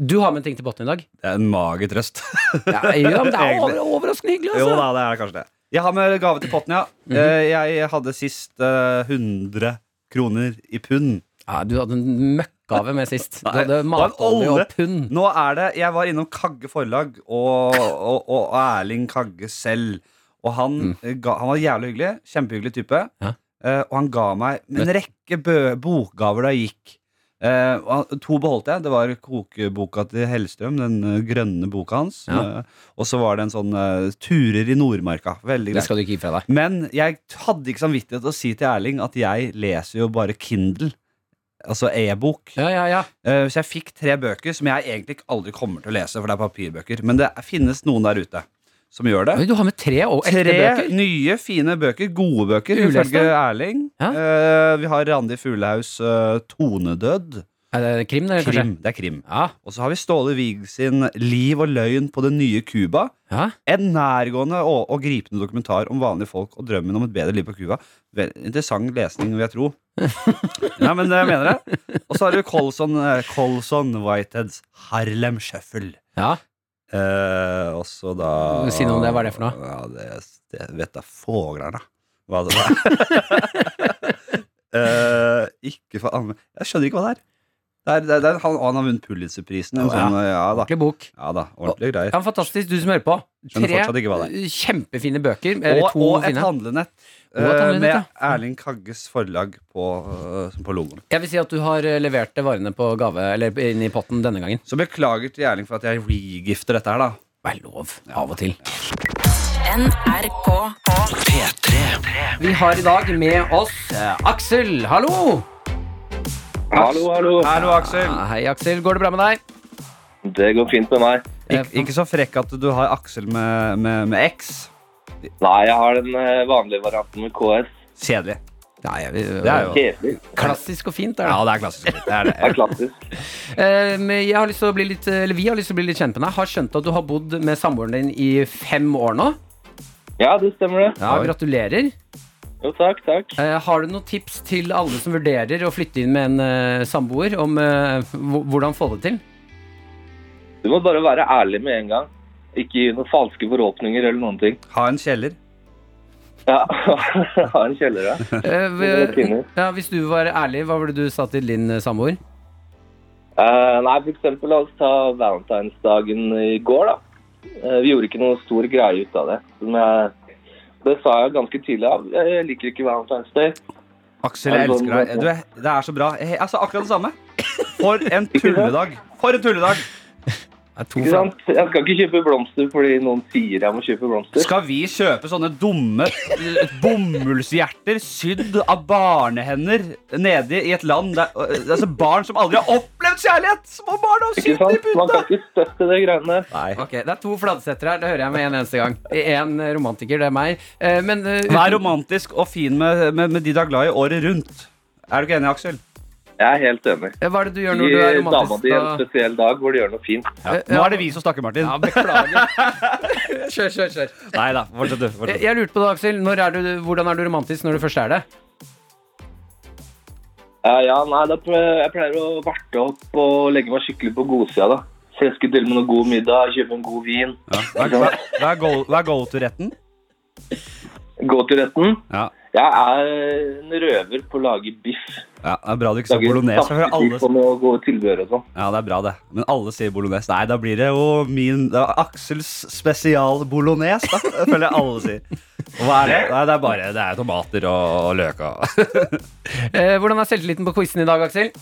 Du har med en ting til potten i dag.
Det er en mager trøst.
Ja, ja, men det er
Egentlig.
over, overraskende hyggelig,
jo
altså.
da, det er det kanskje det. Jeg har med gave til potten, ja.
Mhm.
Eh, Jeg hadde sist eh, 100 kroner i pund.
Ja, du hadde en møkkgave med sist. Du
Nei, det
hadde
var en
matolje
olje.
og pund.
Nå er det Jeg var innom Kagge forlag og, og, og Erling Kagge selv. Og han, eh, ga, han var jævlig hyggelig. Kjempehyggelig type.
Mm. Ja.
Eh, og han ga meg en rekke bø bokgaver da jeg gikk. Eh, og han- to beholdt jeg. Det var kokeboka til Hellstrøm, den eh, grønne boka hans.
Ja.
Eh, og så var det en sånn eh, Turer i Nordmarka. Veldig
Det
greit.
skal du ikke gi fra deg.
Men jeg hadde ikke samvittighet til å si til Erling at jeg leser jo bare Kindle. Altså e-bok.
Ja, ja, ja.
Eh, Så jeg fikk tre bøker som jeg egentlig ikke aldri kommer til å lese, for det er papirbøker. Men det finnes noen der ute som gjør det.
Oi, du har med tre og ekte
Tre
bøker.
nye, fine bøker. Gode bøker,
Uleste.
ifølge Erling.
Ja.
Eh, vi har Randi Fuglehaugs eh, 'Tonedød'.
Er det krim, det, kanskje?
Krim. Det er krim.
Ja.
Og så har vi Ståle Wiig sin 'Liv og løgn på det nye Cuba'.
ja.
En nærgående og, og gripende dokumentar om vanlige folk og drømmen om et bedre liv på Cuba. Vel, Interessant lesning, vil jeg tro. Nei, men jeg mener det. Og så har du Colson, eh, Colson Whiteheads Harlem Shuffle.
ja.
Eh, og så da
Si noe om det, hva er det for noe?
Ja, det, det vet da fåglerne hva det var. eh, ikke for anme... Jeg skjønner ikke hva det er. Det er, det er, det er han, han har vunnet Pulitzerprisen.
Å,
En
ja.
sånn, eh, ja da.
Ordentlig bok.
Ja da, ordentlige greier.
Ja, fantastisk, du som hører på.
Skjønner fortsatt
Tre
ikke hva det
uh, kjempefine bøker. Eller
Og,
to
og et
fine.
handlenett.
Og et
eh,
handlenett,
med
ja.
Erling Kagges forlag på, eh, som på logoen.
Jeg vil si at du har eh, levert eh, varene på gave, eller inn i potten denne gangen.
Så beklager til Erling for at jeg regifter dette her, da.
være lov av og til.
NRK
P3
Vi har i dag med oss eh, Aksel. Hallo!
Hallo, hallo.
Hallo, Aksel.
Ah, Hei, Aksel. Går det bra med deg? Eh,
Det går fint med meg.
Ik ikke så frekk at du har Aksel med, med, med X.
Nei, jeg har den eh, vanlige varianten med KS.
Kjedelig.
Nei, jeg,
Det er jo
Kjedelig.
klassisk og fint. Er det.
Ja, det er klassisk. Det er
Det
det.
er klassisk.
Eh, men jeg har lyst til å bli litt, eller vi har lyst til å bli litt kjent med deg. Har skjønt at du har bodd med samboeren din i fem år nå.
Ja, det stemmer det.
Ja, Gratulerer.
Jo, takk, takk.
Eh, har du noen tips til alle som vurderer å flytte inn med en eh, samboer, om eh, hvo- hvordan få det til?
Du må bare være ærlig med en gang. Ikke gi noen falske forhåpninger eller noen ting.
Ha en kjeller.
Ja, ha en kjeller, ja.
Eh,
Det
v-
finnes.
ja, hvis du var ærlig, hva ville du sagt til din eh, samboer?
Eh, nei, for eksempel, la oss ta valentinsdagen i går, da. Eh, vi gjorde ikke noe stor greie ut av det. Men jeg, det sa jeg ganske tidlig av. Jeg, jeg liker ikke Valentine's Day.
Aksel, jeg elsker
sånn-
deg. Du, er- det er så bra. Jeg, jeg sa akkurat det samme. For en tulledag. For en tulledag.
Ikke sant? Jeg skal ikke kjøpe blomster fordi noen sier jeg må kjøpe blomster.
Skal vi kjøpe sånne dumme eh, bomullshjerter sydd av barnehender nede i et land der eh, Det er altså barn som aldri har opplevd kjærlighet! Små barn har
Ikke
sydd i
sant? Man
puta!
kan ikke støtte det greiene der.
Ok, Det er to fladsetter her, det hører jeg med en eneste gang. En romantiker, det er meg. Eh, men eh,
Vær romantisk og fin med, med, med de du er glad i året rundt. Er du ikke enig, Aksel?
Jeg er helt enig.
eh, hva er det du gjør når
Gi
du er
dama
romantisk?
di en
Da?
spesiell dag hvor de gjør noe fint.
Eh,
Nå
ja.
er det vi som snakker, Martin.
Ja, beklager. kjør, kjør, kjør.
Nei da, fortsett du.
Jeg,
Fortsett.
Eh, jeg lurte på det, Aksel. Når er du, hvordan er du romantisk når du først er det?
Eh, ja, nei, da, ple- jeg pleier å varte opp og legge meg skikkelig på godsida, da. Freske til med noe god middag, kjøpe en god vin.
Hva er- hva- Hva er go- hva er go to-retten?
Gå til retten.
Ja.
Jeg er en røver på å lage biff.
Ja, det er bra du ikke sa
Lage
bolognese. for alle,
saftebiff og noe gode tilbehør og sånn.
ja, det er bra det. Men alle sier bolognese. Nei, da blir det jo min det er Aksels spesial bolognese, da. Det føler jeg alle sier. Og hva er det? Nei, det er bare det er tomater og, og løk og
Eh, hvordan er selvtilliten på quizen i dag, Aksel?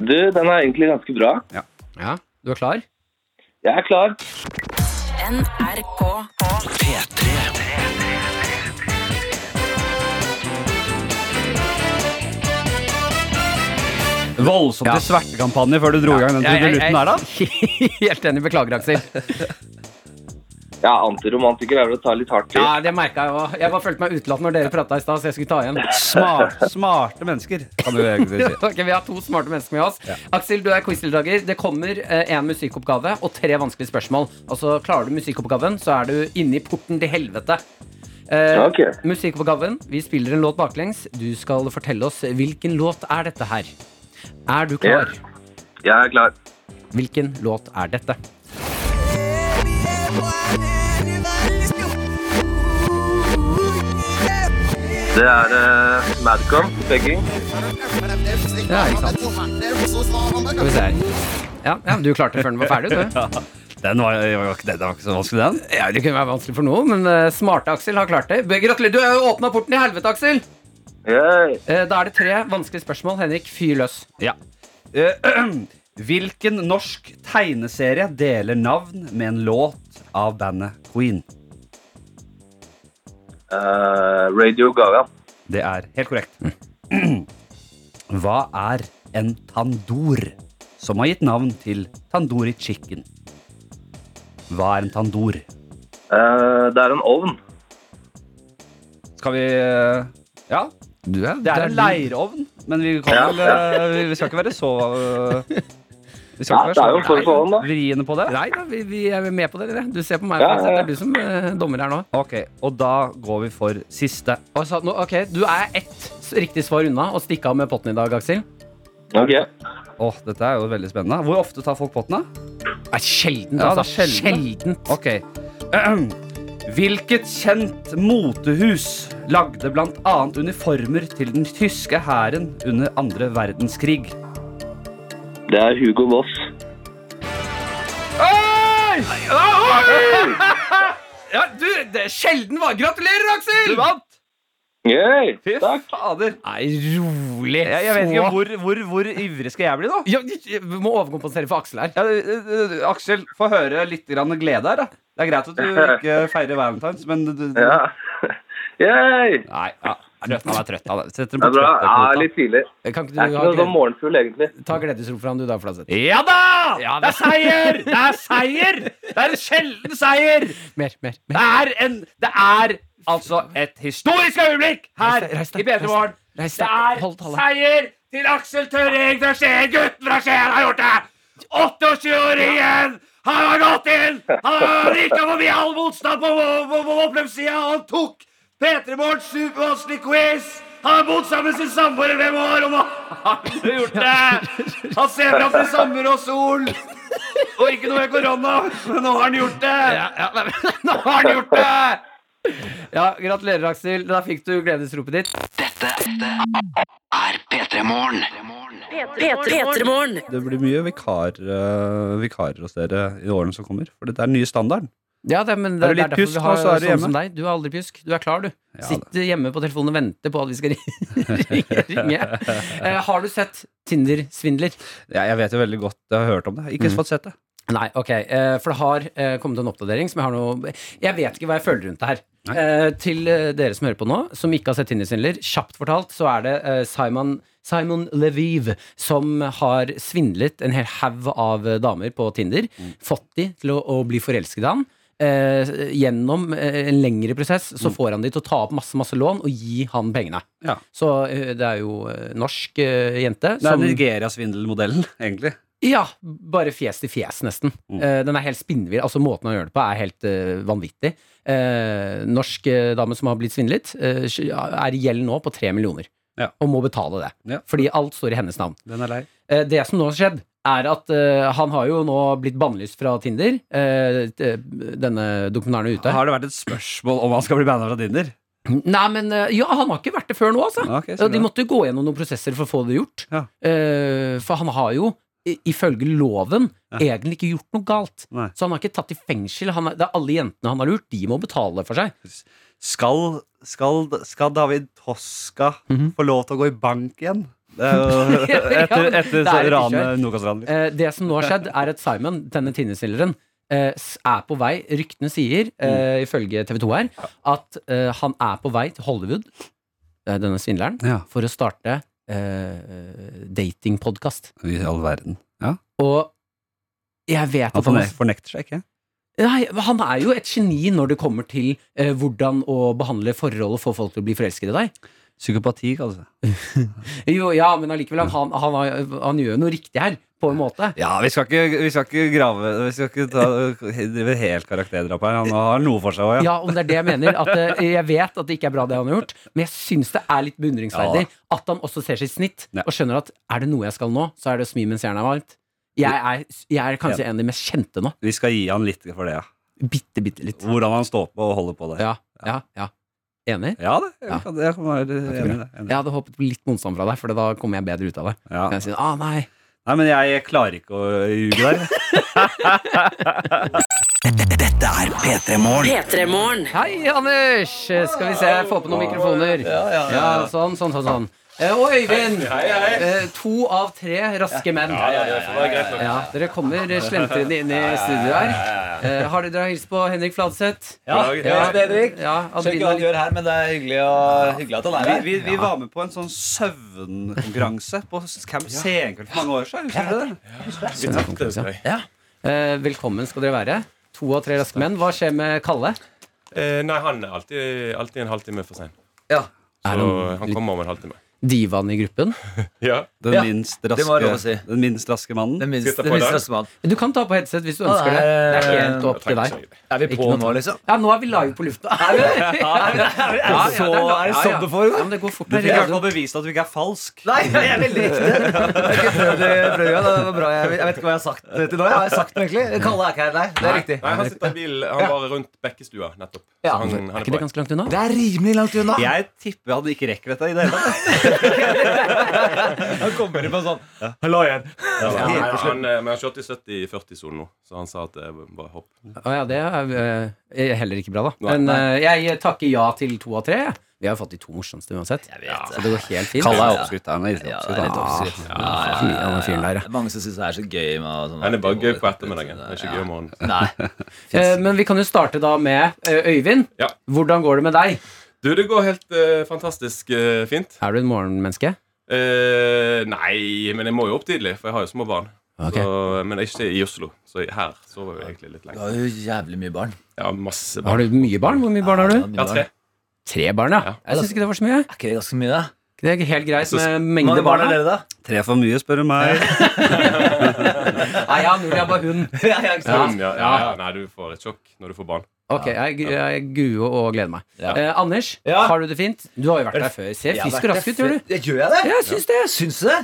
Du, den er egentlig ganske bra.
Ja, Du er klar?
Jeg er klar.
NRK
P3
Voldsomt til svertekampanje før du dro i gang den trudelutten der, da.
Helt enig. Beklager, Aksel.
Ja, antiromantiker er vel å ta litt hardt i.
Ja, Det merka jeg òg. Jeg bare følte meg utelatt når dere prata i stad, så jeg skulle ta igjen.
Smart, smarte mennesker, kan du egentlig si.
Ok, Vi har to smarte mennesker med oss. Aksel, du er quizdeltaker. Det kommer én musikkoppgave og tre vanskelige spørsmål. Altså, Klarer du musikkoppgaven, så er du inne i porten til helvete. Eh,
Ok.
Musikkoppgaven. Vi spiller en låt baklengs. Du skal fortelle oss hvilken låt er dette her. Er du klar?
Jeg er klar.
Hvilken låt er dette?
Det er uh, Madcom. Begging.
Ja, ikke sant. Skal vi se her. Ja, ja, du klarte det før den var ferdig. Du.
Den var, var, ikke- den var ikke så vanskelig, den.
Ja, det kunne være vanskelig for noen, men eh, smarte Aksel har klart det. Gratulerer. Du har jo åpna porten i helvete, Aksel!
Yay.
Eh, Da er det tre vanskelige spørsmål. Henrik, fyr løs.
Ja. Eh, Hvilken norsk tegneserie deler navn med en låt av bandet Queen?
Eh, Radio Gaga.
Det er helt korrekt. Hva er en tandoor som har gitt navn til tandoori chicken? Hva er en tandoor?
Eh, det er en ovn.
Skal vi eh, Ja,
Du er,
det er en leirovn, men vi, kan vel, eh, vi skal ikke være så eh, Vi skal
Ja,
ikke
det er jo
være
en form for ovn, da.
så vriene på det.
Nei da, vi, vi er med på dere. Du ser på meg,
Ja,
Frank, det
ja, ja.
er du som eh, dommer her nå.
Ok, Og da går vi for siste.
Og så, nå. Ok, Du er ett s- riktig svar unna å stikke av med potten i dag, Aksel.
Ok.
Åh, dette er jo veldig spennende. Hvor ofte tar folk potten, da?
Nei, sjeldent,
Ja,
altså.
det er sjeldent.
sjeldent.
Ok. Hvilket kjent motehus lagde blant annet uniformer til den tyske hæren under andre verdenskrig?
Det er Hugo Boss.
Ja, du, det er sjelden var Gratulerer, Aksel!
Du vant!
Gøy!
Fy
Takk.
fader.
Nei, rolig.
Jeg, jeg vet ikke hvor, hvor, hvor ivrig skal jeg bli, da?
Ja, vi må overkompensere for Aksel her.
Ja, eh, eh, Aksel, få høre litt grann glede her, da. Det er greit at du ikke feirer valentines, men du, du,
Ja. Yay!
Nei, ja. Trøtt, han er trøtt. Han er. Setter den
Det
på
er bra. Ja,
trøttekvota.
litt tidlig.
Kan ikke du
Jeg er ikke
ha
noe sånn
gled...
morgenfugl, egentlig.
ta gledesrop fra han, du da, Fladseth?
Ja da! det er seier! Det er seier! Det er en sjelden seier!
Mer, mer, mer.
Det er en Det er altså et historisk øyeblikk her
Reis deg,
i P3 Morgen.
Reis
Det
deg.
er
Hold tale.
seier til Aksel Tørring fra Skien. Gutten fra Skien har gjort det! 28-åringen! Han har gått inn! Han rykka forbi all motstand på våpenløpssida, og han tok P3 Morgens supervanskelige quiz! Han har bodd sammen med sin samboer i fem år, og nå har han gjort det! Han ser fram til sommer og sol, og ikke noe med korona, men nå har han gjort det! Nå har han gjort det!
Ja, gratulerer, Aksel. Da fikk du gledesropet ditt.
Dette er P3 Morgen.
P3morgen.
Det blir mye vikar, eh, vikarer hos dere i årene som kommer. For dette er den nye standarden.
Ja, det, men det,
Er du
det
litt
er derfor
pjusk
vi
nå,
har
så er du
sånn som
hjemme?
deg. Du er aldri pjusk. Du er klar, du.
Ja,
Sitter hjemme på telefonen og venter på at vi skal ringe. ringe. Eh, har du sett Tinder-svindler?
Jeg, jeg vet jo veldig godt, jeg har hørt om det. Ikke
Mm.
fått sett det.
Nei, ok. Eh, for det har eh, kommet en oppdatering som jeg har noe Jeg vet ikke hva jeg føler rundt det her. Eh, til eh, dere som hører på nå, som ikke har sett Tinder-svindler, kjapt fortalt så er det eh, Simon Simon Leviv, som har svindlet en hel haug av eh, damer på Tinder.
Mm.
Fått de til å, å bli forelsket i han. Eh, gjennom eh, en lengre prosess så får han de til å ta opp masse masse lån og gi han pengene.
Mm. Ja.
Så eh, det er jo eh, norsk eh, jente
Det er Nigeria-svindelmodellen, egentlig.
ja, bare fjes til fjes, nesten.
Mm.
Eh, den er helt spinnvill. Altså, måten han gjør det på, er helt eh, vanvittig. Eh, norsk eh, dame som har blitt svindlet, eh, er i gjeld nå på tre millioner.
Ja.
Og må betale det.
Ja.
Fordi alt står i hennes navn.
Den er lei.
Eh, det som nå har skjedd, er at eh, han har jo nå blitt bannlyst fra Tinder. Eh, t- denne dokumentaren er ute.
Har det vært et spørsmål om han skal bli banna fra Tinder?
Nei, men eh, Ja, han har ikke vært det før nå, altså.
Ja, ok, så
Ja, de
bra.
måtte jo gå gjennom noen prosesser for å få det gjort.
Ja.
Eh, for han har jo, i- ifølge loven,
Ja.
egentlig ikke gjort noe galt.
Nei.
Så han har ikke tatt i fengsel. Han er, det er alle jentene han har lurt, de må betale for seg.
skal, skal, skal David Toska
Mhm.
få lov til å gå i bank igjen? Det er jo etter
Ja,
etter
det er et
ranet Nokas-ranet. liksom.
Eh, det som nå har skjedd, er at Simon, denne tinnesnilleren, eh, s- er på vei Ryktene sier,
Mm.
eh, ifølge TV 2 her, at eh, han er på vei til Hollywood, eh, denne svindleren,
Ja,
for å starte eh, datingpodkast.
i all verden.
Og jeg vet
Han
at han har
forne- fornekter seg ikke.
Nei, men Han er jo et geni når det kommer til eh, hvordan å behandle forhold og få folk til å bli forelsket i deg.
Psykopati, kalles det.
Jo, ja, men allikevel, han, han, han, har- han gjør jo noe riktig her, på en måte.
Ja, vi skal ikke, vi skal ikke grave Vi skal ikke ta, drive helt karakterdrap her. Han har noe for seg òg, ja.
Ja, om det er det jeg mener. At, eh, jeg vet at det ikke er bra, det han har gjort, men jeg syns det er litt beundringsverdig
Ja.
at han også ser sitt snitt
Ja.
og skjønner at er det noe jeg skal nå, så er det å smi mens jernet er varmt. Jeg er, jeg er kanskje en av de mest kjente nå.
Vi skal gi han litt for det, ja.
Bitte, bitte litt.
Hvordan han står på og holder på der.
Ja, ja, ja. Enig?
Ja, det, jeg,
Ja.
Kan, jeg kan være enig i det. Enig.
Jeg hadde håpet på litt motstand fra deg, for da kommer jeg bedre ut av det.
Ja.
Kan jeg si, ah, nei
Nei, men jeg klarer ikke å ljuge der.
Dette er P3 Morgen.
P3morgen.
Hei, Anders! Skal vi se, få på noen mikrofoner. Ja, Sånn, sånn, sånn. sånn. Eh, Og Øyvind! Eh, To av tre raske menn. Ja, dere kommer slentrende inn i studio her. Eh, Har dere hilst på Henrik Fladseth?
Ja, det er Henrik.
Ja,
Skjønner ikke hva han
Adelina,
gjør her, men det er hyggelig, å, hyggelig at han er
Vi,
her.
vi, vi var med på en sånn søvnkonkurranse på Camp Senkveld for mange år siden. Husker dere det?
eh, velkommen skal dere være. To av tre raske menn. Hva skjer med Kalle?
Eh, nei, han er alltid, alltid en halvtime for sein. Så
Er
han,
han litt
kommer om en halvtime.
divaen i gruppen?
Ja.
Den,
Ja,
minst
det må jeg
raske,
lov å si.
den minst raske mannen.
Den minste,
Skal jeg ta på
den
i
minste
dag?
rastemann.
Du kan ta på headset hvis du ønsker det. Det er helt opp til deg.
Er vi
Ikke
på
noe
nå, liksom?
Ja, nå er vi live på lufta. Er vi det? Ja, ja,
Så-
la-
er det
ja,
sånn
ja.
det foregår?
Ja, men det går fort.
Du
med
fikk i hvert
radio.
fall bevist at du ikke er falsk.
Nei, jeg er veldig ekte. Jeg har ikke prøvd det, prøvd det, det var bra. Jeg vet- jeg vet ikke hva jeg har sagt til nå. Jeg har jeg sagt noe, egentlig. Kalle er ikke her, nei. Det er riktig.
Nei, han sitter i bilen. Han var rundt Bekkestua nettopp.
Ja,
Så han, han
Er
er
ikke det
på vei.
ganske langt unna?
Det er rimelig langt unna.
Jeg tipper han ikke rekker dette i det hele tatt.
Han kommer inn på sånn Hallo igjen.
Ja, han, han, eh, men han kjørte i 70-40-sonen nå, så han sa at det var bare hopp.
Å ja, det er eh, heller ikke bra, da.
Nei,
Men eh, jeg takker ja til to av tre. Vi har jo fått de to morsomste uansett. Så
det.
det går helt fint.
Kalle er oppskrytt. Han er litt
Ja,
oppskrytt,
det er litt
han.
oppskrytt.
Ja,
Ja, ja,
fy,
ja,
han er fyren der, ja.
Det er Mange som syns det er så gøy med sånn
Den er bare gøy på ettermiddagen. Det er ikke gøy om morgenen.
Nei.
Eh, men vi kan jo starte da med eh, Øyvind.
Ja.
Hvordan går det med deg?
Du, det går helt eh, fantastisk eh, fint.
Er du et morgenmenneske?
Eh, nei, men jeg må jo opp tidlig, for jeg har jo små barn.
Ok.
Så, men ikke i Oslo. Så her sover vi egentlig litt
Du
lenger.
har jo jævlig mye barn.
Jeg har masse
Har
barn.
du mye barn? Hvor mye barn har
Ja,
du?
du har mye
Jeg har
barn.
tre.
Tre barn, ja.
Ja.
Jeg syns ikke det var så mye.
Er ikke det ganske mye, da?
Det er helt greit
Så-
med
Hvor
mengde
mange barn
barn.
har
da.
dere, da?
Tre for mye, spør du meg.
Nei, jeg har null, jeg har bare hund.
ja, ja, ikke sant?
Ja, ja, ja. Nei, du får et sjokk når du får barn.
Ok, jeg, gru- jeg gruer og gleder meg.
Ja.
Eh, Anders,
Ja.
har du det fint? Du har jo vært der før. Ser
Jeg har vært
frisk og
der
rask ut,
før-
gjør du?
Ja, Gjør jeg det? altså.
Ja, jeg syns det.
Syns du det?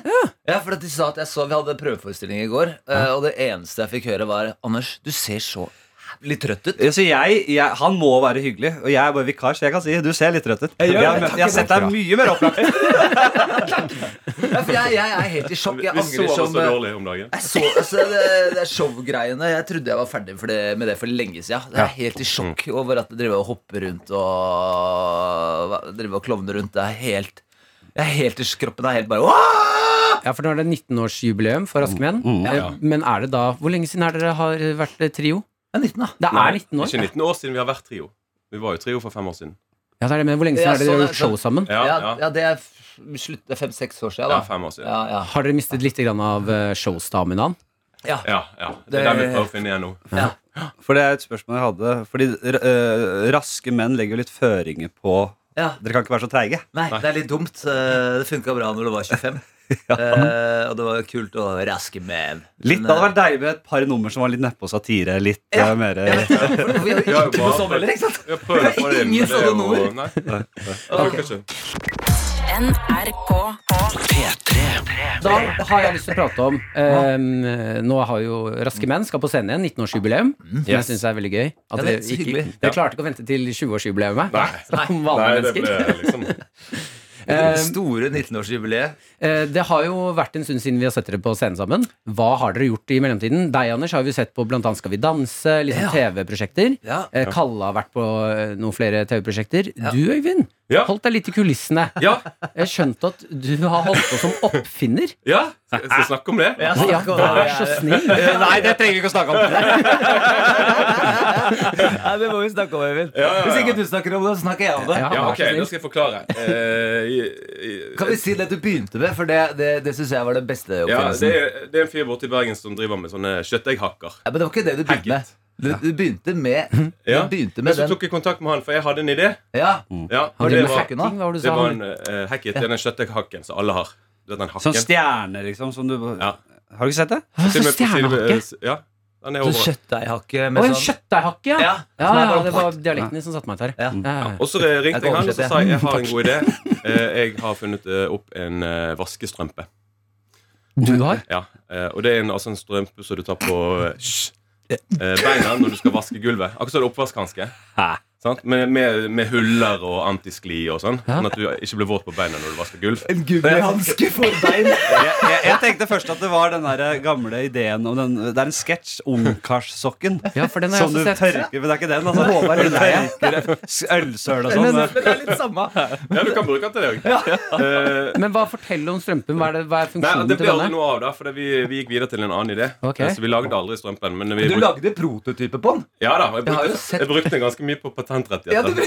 Ja. for at de sa at jeg så Vi hadde prøveforestilling i går, eh, og det eneste jeg fikk høre, var Anders, du ser så jævlig trøtt ut.
Ja, så jeg, jeg, han må være hyggelig, og jeg er bare vikar, så jeg kan si du ser litt trøtt ut. Jeg,
gjør
har
det.
møtt- jeg har sett deg mye mer opplagt.
Ja, for jeg, jeg er helt i sjokk. Jeg
Vi
angrer
sover så
som eh,
dårlig om dagen.
jeg så, altså, det, det er showgreiene. Jeg trodde jeg var ferdig for det, med det for lenge siden. Jeg er helt i sjokk
Mm.
over at det driver og hopper rundt og hva- driver og klovner rundt. Det er helt jeg er helt i Kroppen er helt bare Åh!
Ja, for nå er det 19-årsjubileum for Raske
Mm,
menn. Eh, Men er det da Hvor lenge siden er dere har vært eh, trio?
Jeg er 19, da.
Det
Nei,
er 19 år.
Ikke 19 år siden vi har vært trio. Vi var jo trio for fem år siden.
Ja, det er det, men hvor lenge
Ja,
siden er det dere
sånn er-
har gjort show sammen?
Ja, ja.
Ja, ja, det er f- slutt, det er fem-seks år siden,
ja
da.
fem år siden.
Ja, ja.
Har dere mistet litt grann av eh, showstaminaen?
Ja, ja.
Det-
Det er den vi prøver å finne igjen nå.
For det er et spørsmål jeg hadde. Fordi eh, raske menn legger jo litt føringer på
ja.
Dere kan ikke være så treige.
Nei, det er litt dumt. Eh, Det funka bra når du var 25. Eh, og det var kult å raske med
Litt, Det hadde vært deilig med et par nummer som var litt nedpå satire. Litt
eh, Ja.
eh, mer
Vi har jo
har jo
ikke
bare-
noe sånn heller, ikke sant?
Jeg prøver å få det inn.
Ingen
men det er
sånne
jo-
ord.
Nei. Det funker ikke.
NRK
Da har jeg lyst til å prate om eh, Nå har jo Raske menn skal på scenen igjen. 19-årsjubileum. Som jeg syns er veldig gøy. At
Mm. Ja,
dere
det er så
ikke-
hyggelig.
Dere klarte ikke å vente til 20-årsjubileumet.
Nei.
Som
Nei,
vanlige
det
mennesker.
ble liksom
Det
Eh,
store 19-årsjubileet.
eh, det har jo vært en stund siden vi har sett dere på scenen sammen. Hva har dere gjort i mellomtiden? Deg, Anders, har vi sett på blant annet Skal vi danse, liksom
Ja.
TV-prosjekter.
Ja.
Eh, Kalle har vært på eh, noen flere TV-prosjekter.
Ja.
Du, Øyvind,
Ja.
holdt deg litt i kulissene.
Ja!
Jeg skjønte at du har holdt på som oppfinner.
ja. Skal skal vi snakke om det?
Ja,
Ja,
snakk om det. Eh,
vær så snill.
Nei, det trenger vi ikke å snakke om.
Nei, det må vi snakke om, Øyvind.
Ja, ja, ja.
Hvis ikke du snakker om det, så snakker jeg om det.
Ja,
Ja,
vær
ok,
så
nå
snill.
skal jeg forklare. Eh, i- i-
Kan vi si det du begynte med? For det, det, det syns jeg var den beste
ja, det,
oppfinnelsen.
er, det er en fyr borte i Bergen som driver med sånne kjøttegghakker.
Ja, men det var ikke det du begynte med. Du, du begynte med, du
Ja.
begynte
Men
med
så
den.
tok jeg kontakt med han, for jeg hadde en idé.
Ja,
Ja,
Han driver
og det
med
hacking,
var,
hacking, Mm. hva var det du
det
sa?
var
han?
en uh, hacket. Det er den kjøttegghakken som alle har. Du vet den hakken?
Sånn stjerne, liksom. Som du,
Ja.
Har du ikke sett det?
Hva
Til og
slags
med på
stjernehakke?
Silve- Eh, Ja, den er
så
over.
kjøttdeighakke
Å,
med
en
sånn
kjøttdeighakke, ja.
Ja,
Ja,
som er
ja,
bare
det var dialektene som satte meg ut her.
Ja.
Ja, ja.
Og så eh,
Jeg
ringte
kan
jeg han og
oversette.
så sa jeg, jeg har en god idé. Eh, Jeg har funnet eh, opp en eh, vaskestrømpe.
Du har?
Ja, eh, Og det er en, altså en strømpe som du tar på eh, sj, eh, beina når du skal vaske gulvet. Akkurat som en oppvaskhanske. Sant? Med, med, med huller og antiskli og sånn. Sånn at du ikke blir våt på beina når du vasker gulv.
En gummihanske for bein.
Jeg, jeg, jeg tenkte først at det var den der gamle ideen om den Det er en sketsj. Ungkarssokken.
Ja, for den har jeg
Som du
også sett.
tørker Men det er ikke den, altså.
Håvard
Du
Undheim.
tørker s- Ølsøl og
Men,
sånn.
men det er litt samme.
Ja, du kan bruke den til det òg. Eh,
Men hva forteller om strømpen? Hva er, det, hva er
Nei,
funksjonen
Det ble
til
aldri
denne?
noe av, da, for vi, vi gikk videre til en annen idé.
Ok.
Eh, Så vi lagde aldri strømpen. Men vi
Du
bruk-
lagde prototype på den.
ja da, jeg
Jeg har jo
brukte,
sett-
jeg brukte den ganske mye på
Ja, du
patentrettigheter.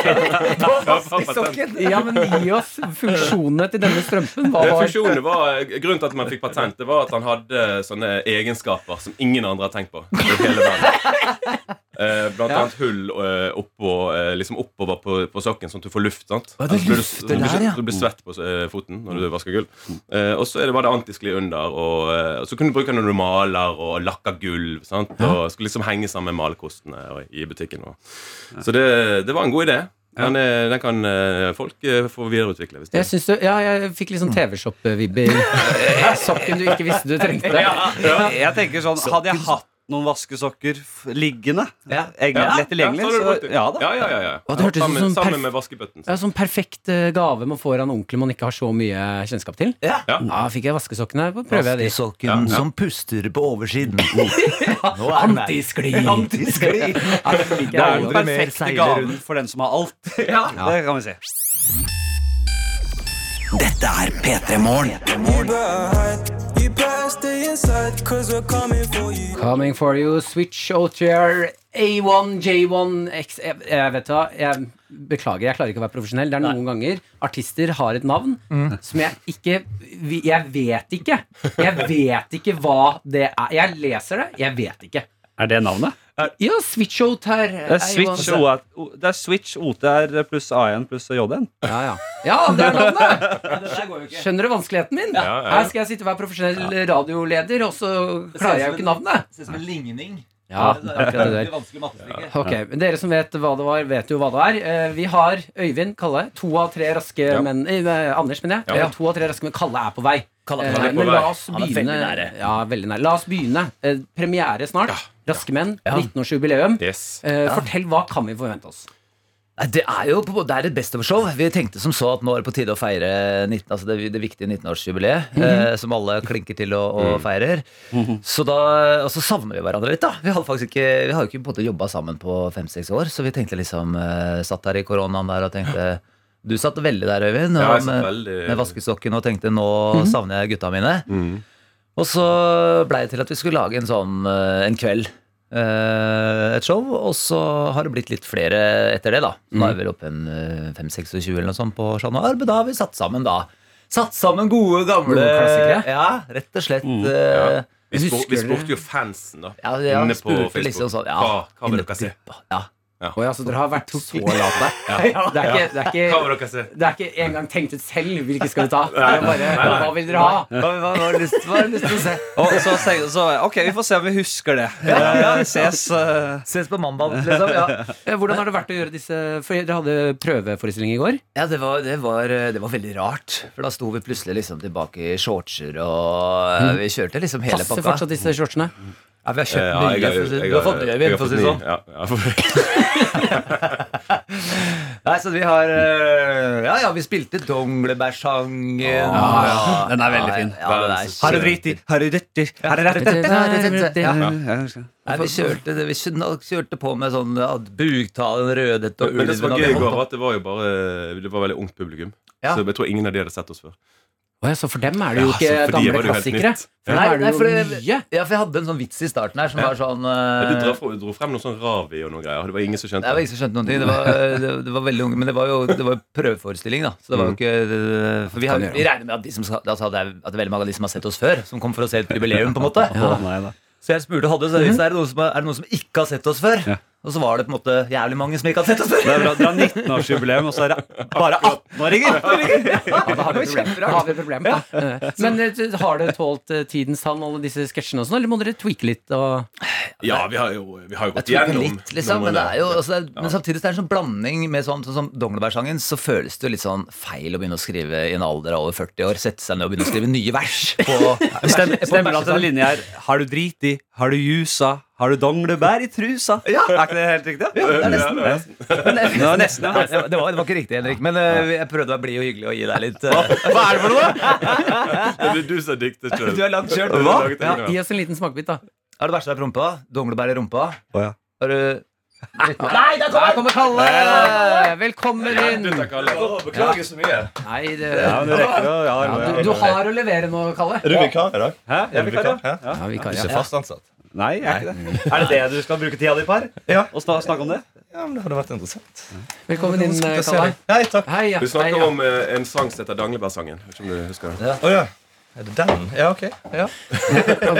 brukte sokken.
Ja, men gi oss funksjonene til denne strømpen. Hva
Eh,
var
Funksjonen var, Grunnen til at man fikk patent, Det var at han hadde sånne egenskaper som ingen andre har tenkt på. i hele verden. Eh, Blant
Ja.
annet hull eh, oppå, eh, liksom oppover på, på sokken, sånn at du får luft. sant?
Å, det
Altså, blir du-
lufter
du, blir
der,
ikke-
ja.
du blir svett på eh, foten når du vasker gulv. Eh, og så er det- var det antiskli under. Og, eh, og så kunne du bruke den når du maler og lakker gulv. sant? Og skulle liksom henge sammen med malekostene og- i butikken. Og. Så det, det var en god idé. Men eh, den kan eh, folk eh, få videreutvikle. hvis de
jeg syns du, ja, jeg fikk litt sånn TV-shop-vibber. Sokken du ikke visste du trengte.
Jeg tenker sånn, Hadde jeg hatt noen vaskesokker f- liggende.
Ja.
Egentlig
Ja.
lett tilgjengelig.
Ja, så har du brukt
så,
det.
ja, da.
Ja, ja, ja, ja.
Og det hørtes ut
sammen,
som perf-
sammen med vaskebøtten.
Ja, sånn perfekt eh, gave man får av en onkel man ikke har så mye kjennskap til.
Ja.
Ja.
Fikk jeg vaskesokkene, så prøver jeg de.
Vaskesokken
Ja, ja.
som puster på oversiden. Nå er den her.
Antiskli.
Antiskli.
Det er
Aldri
den
mer
perfekte
seiler
gaven
rundt.
for den som har alt. Det kan vi si.
Dette er P3 Morgen.
Coming for you, Switch OTR, A1, J1, X Jeg, jeg vet hva, jeg beklager, jeg klarer ikke å være profesjonell. Det er noen ganger artister har et navn som jeg ikke vi- Jeg vet ikke. Jeg vet ikke hva det er. Jeg leser det, jeg vet ikke.
Er det navnet?
Ja, Switch OTR.
Det er Switch,
A1.
OAT O- det er Switch OTR pluss A1 pluss JN.
Ja, ja. ja, det er navnet! Skjønner du vanskeligheten min?
Ja, ja, ja.
Her skal jeg sitte og være profesjonell radioleder, og så klarer jeg jo ikke navnet.
Ser ut som en ligning.
Ja,
det er
akkurat det der.
veldig vanskelig mattestykke.
Ok, men Dere som vet hva det var, vet jo hva det er. Eh, Vi har Øyvind Kalle. To av tre raske
Ja.
menn eh, Anders, mener jeg.
Ja.
Vi har To av tre raske menn. Kalle er på vei.
Kalle
Eh,
er på vei.
men la oss
Han er
begynne.
veldig nære.
Ja, veldig nære. La oss begynne. Eh, Premiere snart. Raske menn. 19-årsjubileum.
Yes.
Eh, Fortell, hva kan vi forvente oss?
Nei, Det er jo på, en måte- det er et best-of-show. Vi tenkte som så at nå er det på tide å feire 19, altså det, det viktige 19-årsjubileet, eh,
Mhm.
som alle klinker til og,
Mm.
og feirer. Så da, Og så savner vi hverandre litt, da. Vi hadde faktisk ikke, vi har jo ikke på en måte jobba sammen på fem-seks år, så vi tenkte liksom eh, Satt der i koronaen der og tenkte Du satt veldig der, Øyvind,
Ja, jeg
og,
satt
med,
veldig-
med vaskesokken og tenkte nå savner jeg gutta mine. Og så blei det til at vi skulle lage en sånn eh, en kveld. eh, et show, og så har det blitt litt flere etter det, da. Nå
Mm.
er vi vel oppe en eh, 5-26 eller noe sånt på Chat Noir, men da har vi satt sammen, da. Satt sammen gode, gamle
Gode klassikere.
Ja, rett og slett. eh,
Mm. Vi, spor,
Husker
vi
du-
spurte jo fansen, da.
ja, ja,
inne på
spurte
Facebook.
liksom sånn, ja,
hva, hva vil
inne
dere
på
se?
gruppa, Ja.
Oi, altså, dere har vært så late. Det er ikke, det er
Hva vil
ikke
dere se?
det er ikke engang tenkt ut selv hvilke skal vi ta. Det er bare, Hva vil dere ha?
Hva hva- hva har du lyst, hva har du lyst til å se?
Og så, tenkte- så Ok, vi får se om vi husker det. Eh, ses eh,
Ses på mandag, liksom. Ja.
Eh, Hvordan har det vært å gjøre disse For dere hadde prøveforestilling i går.
Ja, det var, det, var, det var veldig rart. For da sto vi plutselig liksom tilbake i shortser, og eh, vi kjørte liksom hele
Passer
pakka.
fortsatt disse shortsene?
Ja, vi har
Eh,
kjøpt
ja,
nye.
jeg har-
for å si-
jeg
du har fått nye,
jeg
vi,
har
for
fått
å si det
ny.
sånn.
Ja, ja, for-
Nei, så vi har eh, Ja, ja, vi spilte Donglebærsangen.
ja. Den er veldig fin.
Ja, den er
Har du
kjempe-
driti? Har du røtti? Har du røtti?
Nei, vi kjørte, det- vi kjørte- kjørte på med sånn ja, Bugtalen, Rødhette og
Men det som var
Ulven og
gøy i
vi
går, var
holdt på.
at det var jo bare Det var veldig ungt publikum.
Ja.
Så jeg tror ingen av de hadde sett oss før.
Åja, så for dem er det jo
Ja,
ikke
så for de
gamle
var det jo helt
klassikere.
nytt.
For
Nei,
dem
nei,
er
for
det jo
det-
nye.
Ja, for jeg hadde en sånn vits i starten her som var sånn
Du
eh,
dro, fra- dro frem noe sånn ravi og noe greier. Det var ingen som skjønte
Det var ingen som skjønte noen ting. Det var, eh, det, det var veldig unge, men det var jo det var jo prøveforestilling, da. Så
Mm.
det var jo ikke det- For vi, har, vi regner med at, de som, skal- altså, det er, at det er veldig mange av de som har sett oss før, som kom for å se et jubileum, på en måte. Så jeg spurte Hadde så
Mhm.
hvis det er noen som, er det noen som ikke har sett oss før. Og så var det på en måte jævlig mange som ikke hadde sett oss
Det
før.
er bra. Dere har 19-årsjubileum, og så er det bare 18-åringer!
Ja, da har vi problem. Da har vi problem. Eh, Men eh, har det tålt eh, tidens tann, alle disse sketsjene og sånn, eller må dere tweake litt? Og...
Ja, vi har jo, vi har jo gått
Jeg tror
igjennom
litt, liksom, men, det er jo,
numrene.
altså, det er, men samtidig så er det en sånn blanding med sånn, sånn som Donglebærsangen, så føles det jo litt sånn feil å begynne å skrive i en alder av over 40 år. Sette seg ned og begynne å skrive nye vers. På,
Stem- Stemmer det at den linja er Har du driti? Har du jusa? Har du donglebær i trusa? Er ikke det helt riktig?
det er nesten
Ja. Det var nesten, ja.
Nei, det, var, det var ikke riktig, Henrik, men eh, jeg prøvde å være blid og hyggelig og gi deg litt eh,
Hva er det for noe?
Det er du som er diktet sjøl.
Du er langt kjørt.
Hva?
Hva?
Ja,
Gi oss en liten smakebit, da.
Har du bæsja i rumpa? Donglebær i rumpa?
Å, ja.
Har du
Nei, der kommer Kalle! Velkommen inn!
Dette kaller jeg for-
Beklager så mye.
Nei, det...
Ja, men det rekker jo. Ja,
Ja,
ja,
du,
ja.
du har å levere nå, Kalle.
Er du vikar i dag?
Hæ? Jeg
Er du
blir klar, ja.
Hæ?
Ja, vi kan,
Du er
ja.
ikke fast ansatt?
Nei, jeg er ikke det. Er det det du skal bruke tida di på her?
Ja.
Og snak- snakke om det?
Ja, men Det hadde vært interessant.
Velkommen inn, eh,
Jeg ser
Kalle.
deg. Hei, takk.
Hei, ja.
Du
Hei,
snakker
ja.
om eh, en sang som heter Danglebærsangen. Vet ikke om du husker den.
Å ja. Er det den? Ja, ok. Ja.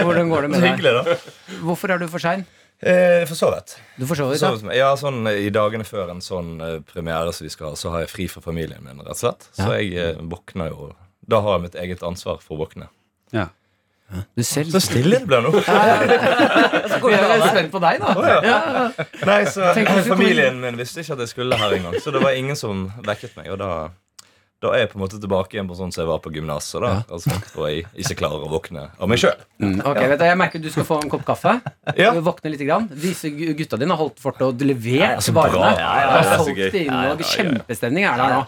Hvordan går det
Så
med deg?
hyggelig, da.
Hvorfor er du for sein?
Eh, forsovet.
Du får så vidt, da.
Forsovet meg. Ja, sånn eh, I dagene før en sånn eh, premiere som vi skal ha, så har jeg fri fra familien min, rett og slett. Så jeg eh, våkner jo Da har jeg mitt eget ansvar for å våkne.
Du selv.
Så stille det ble nå.
Jeg er spent på deg, da.
Nei, så
Tenk hvis du kom inn-
Familien min visste ikke at jeg skulle her engang, så det var ingen som vekket meg. Og da
Da er jeg på en måte tilbake igjen på sånn som jeg var på gymnaset. da altså, Og jeg ikke klarer å våkne av meg sjøl.
Mm, Ok, vet du, Jeg merker du skal få en kopp kaffe. Våkne litt. Grann. Disse gu- gutta dine har holdt fort og levert
så bra. Ja,
varene.
ja, ja,
Det er
så
solgt
gøy.
det inn,
Ja, ja,
og
ja, ja.
Kjempestemning er der nå.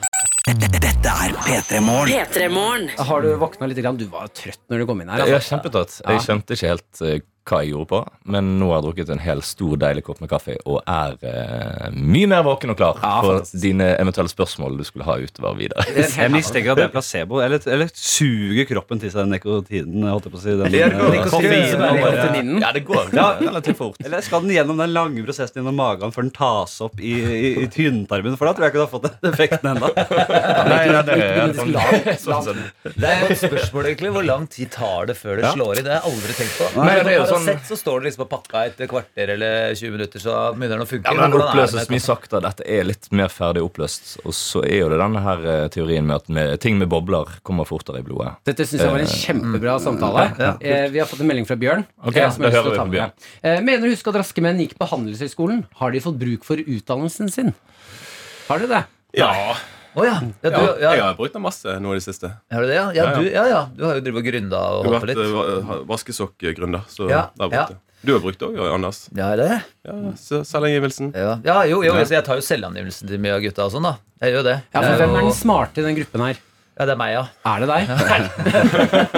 Dette er P3 Morgen.
Har du våkna litt? Grann? Du var jo trøtt når du kom inn her. altså.
Jeg er kjempetatt. Jeg
Ja.
skjønte ikke helt eh, hva jeg gjorde på, men nå har jeg drukket en hel stor, deilig kopp med kaffe og er eh, mye mer våken og klar for dine eventuelle spørsmål du skulle ha utover videre.
Jeg mistenker at det er placebo. Eller, eller suger kroppen til seg den nekotinen. Holdt jeg på å si. Den,
Ja,
eh,
nikotin.
koffeinen.
Ja, det går
Ja, relativt fort. Eller skal den gjennom den lange prosessen gjennom magen før den tas opp i, i, i tynntarmen? For da tror jeg ikke du har fått den effekten ennå.
Det er jo et spørsmål, egentlig. Hvor lang tid tar det før det
Ja.
slår i? Det har jeg aldri tenkt på.
Nei,
Men
det er jo
Paracet,
sånn-
Så står det liksom på pakka et kvarter eller 20 minutter, så begynner den å funke.
Ja, men Den
Hvordan er det med-
oppløses mye saktere. Dette er litt mer ferdig oppløst. Og så er jo det denne her eh, teorien med at med, ting med bobler kommer fortere i blodet.
Dette syns jeg var en kjempebra samtale. Eh, Vi har fått en melding fra Bjørn.
Ok,
eh, som jeg har lyst til
da hører
å
vi
ta
på
med.
Bjørn.
Eh, Mener du husker at raske menn gikk på Handelshøyskolen? Har de fått bruk for utdannelsen sin? Har dere det?
Ja.
Å ja. Ja, du, ja.
Jeg har brukt den masse nå i det siste.
Har du det, ja? Ja, du, ja, ja. du har jo drevet og grunda og
Jeg har
holdt på
vært
litt.
eh, va- vaskesokkgründer, så
Ja,
det har jeg
ja.
brukt det. Du har brukt det òg, Anders.
Ja, det.
Ja, så Selvangivelsen.
Ja, ja jo, jo altså, jeg tar jo selvangivelsen til mye av gutta og sånn, da. Jeg gjør jo det.
Ja, for
Det er
Hvem er
jo-
den smarte i den gruppen her?
Ja, det er meg, ja.
Er det deg?
Ja, men jeg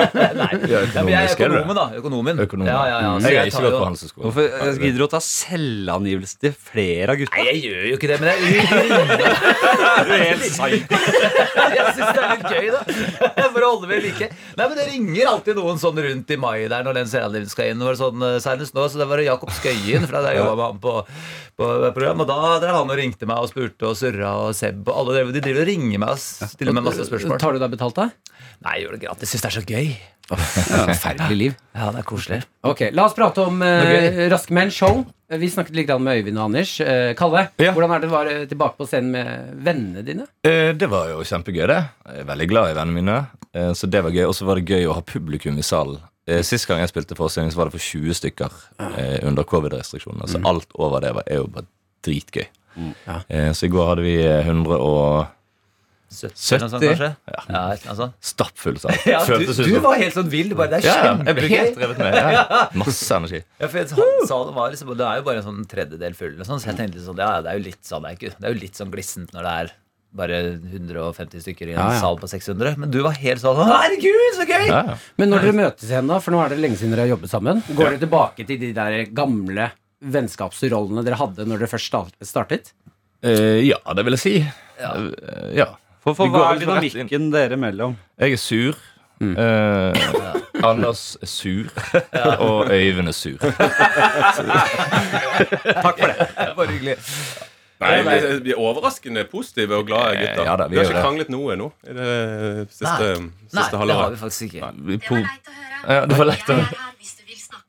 er
Økonomisk, er du det?
økonomen, da. Økonomen.
Økonomen.
Ja, ja,
Mm.
ja. Så
Jeg har
tar
ikke gått
jo-
på handelshøyskolen.
Hvorfor jeg gidder du å ta selvangivelse til flere av
Nei,
gutta?
jeg gjør jo ikke det, men jeg, jeg syns det er litt gøy, da. For å holde meg like. Nei, men Det ringer alltid noen sånn rundt i mai der når Len Serandiv skal inn. Det var sånn eh, senest nå, så det var det Jakob Skøyen, for der jobba med han på, på program. Og da drev han og ringte meg og spurte og surra og Seb og alle drev, de driver og ringer meg og stiller meg masse spørsmål.
Tar du deg betalt, da?
Nei, jeg gjør det gratis. Syns det er så gøy.
Forferdelig liv.
Ja, det er koselig.
Ok, La oss prate om eh, Raske menn show. Vi snakket litt grann med Øyvind og Anders. Eh, Kalle, hvordan er det å være tilbake på scenen med vennene dine?
Eh, Det var jo kjempegøy, det. Jeg er veldig glad i vennene mine. eh, Så det var gøy. Og så var det gøy å ha publikum i salen. Eh, Sist gang jeg spilte forestilling, så var det for 20 stykker eh, under covid-restriksjonene. Så alt over det var, er jo bare dritgøy. Eh, Så i går hadde vi eh, 100 og
70 eller noe sånt,
70?
kanskje? Ja, et eller annet sånt.
stappfull sal.
Ja, du,
Føltes ut
du
som-
var helt sånn vill. Du bare, det
Ja,
er
ja, jeg ble helt
kjempegøy.
revet med. Ja. ja. Masse energi.
Ja, for jeg, han sa det, var liksom, det er jo bare en sånn tredjedel full, og sånn, så jeg tenkte litt sånn, ja, det er jo litt sånn, det er, ikke, det er jo litt sånn glissent når det er bare 150 stykker i en
Ja, ja.
sal på 600. Men du var helt sånn «Å, Herregud, så gøy!
Ja, ja.
Men når dere møtes igjen, da, for nå er det lenge siden dere har jobbet sammen, går dere tilbake til de der gamle vennskapsrollene dere hadde når dere først sta- startet?
Eh, ja, det vil jeg si.
Ja.
Eh, ja.
For, for
Vi går
hva er
liksom rett inn.
dynamikken dere mellom?
Jeg er sur. Eh, Anders er sur. Og Øyvind er sur.
Bare hyggelig.
Nei, vi, vi er overraskende positive og glade gutter.
Ja da, vi
vi har
er jo
ikke
det.
kranglet noe nå i det siste,
Nei,
siste
det har
halvåret.
vi faktisk ikke.
Vi po
høre.
ja, det var lett å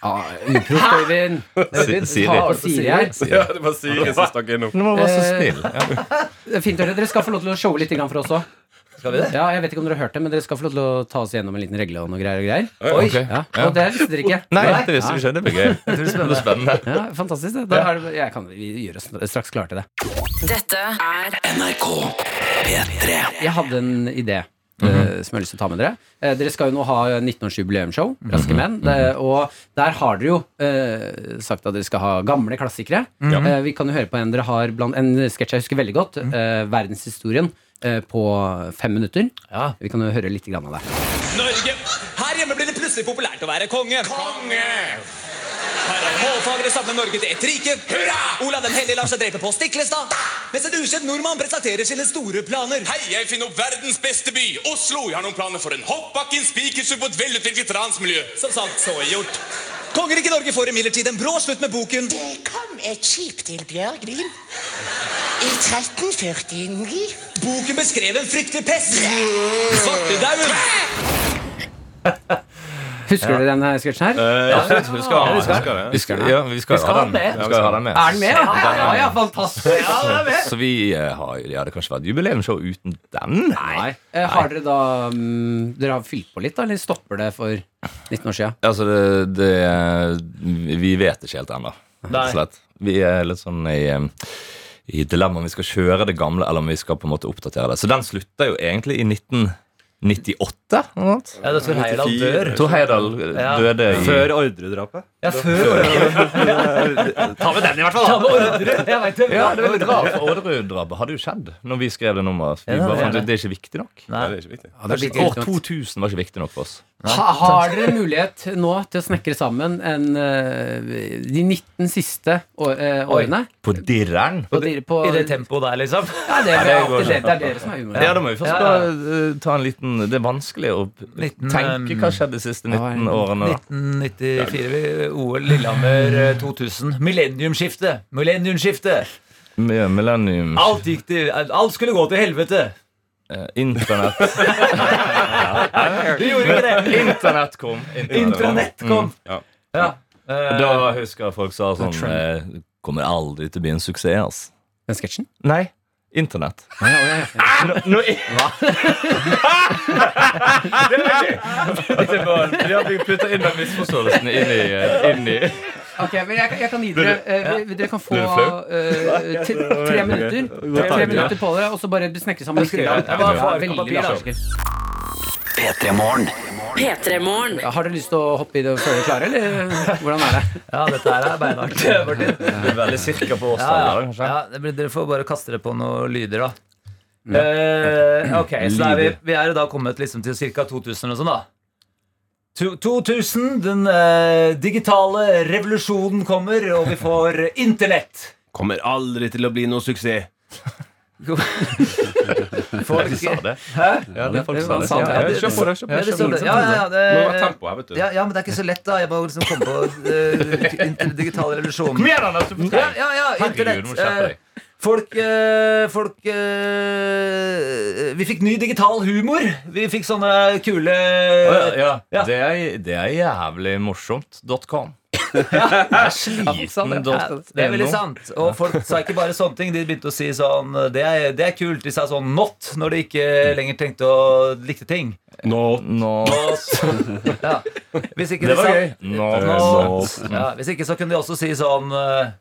Ja, Uproft, Øyvind.
si, si
Ta
det.
og Siri her.
Ja, det var Siri som stakk innom.
Nå var man så snill. Ja.
Eh, Det er Fint, dere. dere skal få lov til å showe litt grann for oss òg.
Skal vi det?
Ja, jeg vet ikke om dere har hørt det, men dere skal få lov til å ta oss gjennom en liten regle og noe greier og greier.
Oi.
Ja, og det visste dere ikke.
Nei, det visste vi ikke. Det blir gøy. Det blir spennende.
Ja, fantastisk. det. Da er det, jeg kan, vi gjør oss straks klare til det.
Dette er
NRK P3.
Jeg hadde en idé eh, som jeg har lyst til å ta med dere. Eh, dere skal jo nå ha 19-årsjubileumsshow, Raske menn. Det- og der har dere jo eh, sagt at dere skal ha gamle klassikere. Eh, vi kan jo høre på en dere har blant en sketsj jeg husker veldig godt. eh, verdenshistorien eh, på fem minutter.
Ja.
Vi kan jo høre litt grann av det.
Norge. Her hjemme blir det plutselig populært å være konge. Konge! Hårfagre samler Norge til ett rike. Hurra! Olav den hellige lar seg drepe på Stiklestad. Mens en ukjent nordmann presenterer sine store planer.
Hei, jeg finner opp verdens beste by, Oslo. Jeg har noen planer for en hoppbakken, spikersub og et velutviklet ransmiljø.
Som sagt, så er gjort. Kongeriket Norge får imidlertid en brå slutt med boken.
Det kom et skip til Bjørgvin i 1349.
Boken beskrev en fryktelig pest. Svartedauden.
Husker dere denne sketsjen her?
ja, jeg husker, jeg husker det.
Vi skal, ja, vi skal jo ha den. Vi skal jo ha den med.
Er den med? Ja, ja, ja, ja fantastisk! Ja, den er med.
Så vi eh, har Det hadde kanskje vært jubileumsshow uten den. Nei.
Eh, Har dere da mm, Dere har fylt på litt, da? Eller stopper det for 19 år siden?
Altså, det, det Vi vet ikke helt ennå, rett og slett. Vi er litt sånn i eh,
i dilemma om vi skal kjøre det gamle, eller om vi skal på en måte oppdatere det. Så den slutta jo egentlig i 1998. Ja,
da Tor Heyerdahl dør.
Tor Heyerdahl
Ja.
døde i
Før Ordre-drapet?
Ja, før.
Ta med den, i hvert fall!
Ta med ordre. Jeg vet det.
Ja, det var bra, for Orderud-drabet hadde jo skjedd når vi skrev det nummeret.
Ja,
Vi
det
bare
er
fant
det.
ut det er ikke viktig nok.
det
Nei.
er ikke viktig.
Ja, det er ikke- År 2000 var ikke viktig nok for oss.
Ha, har dere mulighet nå til å snekre sammen en, eh, de 19 siste å, eh, årene?
På dirreren?
På dir- på-
I det tempoet der, liksom?
Ja, det er,
går
det,
ikke.
det er dere som er humor.
Ja, da må vi først
Ja,
da,
ja.
eh, ta en liten Det er vanskelig å p-
Liten,
tenke hva skjedde de siste 19 årene. da.
1994, vi- OL Lillehammer eh, 2000. Millenniumsskiftet! Millenniumsskiftet!
Med Millennium,
Alt gikk til Alt skulle gå til helvete!
eh, Internett
Du gjorde ikke det!
Internett kom.
Intranett kom.
Ja.
Ja.
Og Da husker jeg folk sa sånn eh,
Trend.
Kommer aldri til å bli en suksess, ass.
Den sketsjen?
Nei. Internett. Det var, de har putta inn den misforståelsen inn i, eh, inn i
Ok, men jeg, kan- jeg kan gi dere eh, vi- Dere kan få
Blir du flau?
eh, t- tre minutter
Tre
Tre
minutter.
minutter på dere, og så bare snekre sammen.
Jeg skal- jeg bare får ark og papir, da.
P3-morgen.
P3-morgen.
Har dere lyst til å hoppe i det før dere er klare, eller hvordan er det?
Ja, dette her er beinhardt. Martin.
Du er veldig cirka på
Ja, ja.
årstallet, kanskje?
ja, det blir- dere får bare kaste dere på noen lyder, da. Eh, ok, så da er vi, vi er da kommet liksom til ca. 2000 og sånn, da. To- 2000, den eh, digitale revolusjonen kommer, og vi får internett.
Kommer aldri til å bli noe suksess.
Folk-
De sa det.
Hæ?
Ja, det folk sa det.
Ja, ja,
Ja,
det-
Kjør på, da. Kjør på.
Ja, det sa
Kjør
det.
på.
Ja, ja, ja, det-
Må være tempo her, vet du.
Ja, ja, men det er ikke så lett, da. Jeg må liksom komme på eh, inter- digital revolusjon.
Kom igjen, Anders, du får til.
Ja, ja, ja,
Herregud, du må
internett.
skjerpe deg.
eh, Folk, eh, folk eh, Vi fikk ny digital humor. Vi fikk sånne kule
Å, ja, ja. Det, er, det er jævlig morsomt. Dot com. Jeg er sliten.
Ja,
dot-
det er veldig
no.
sant. Og folk sa ikke bare sånne ting. De begynte å si sånn Det er, det er kult. De sa sånn not når de ikke lenger tenkte å likte ting.
Not.
Not. Ja. Hvis ikke
Det
de
var
sa-
gøy. Not.
Not.
Not.
Ja, hvis ikke så kunne de også si sånn eh,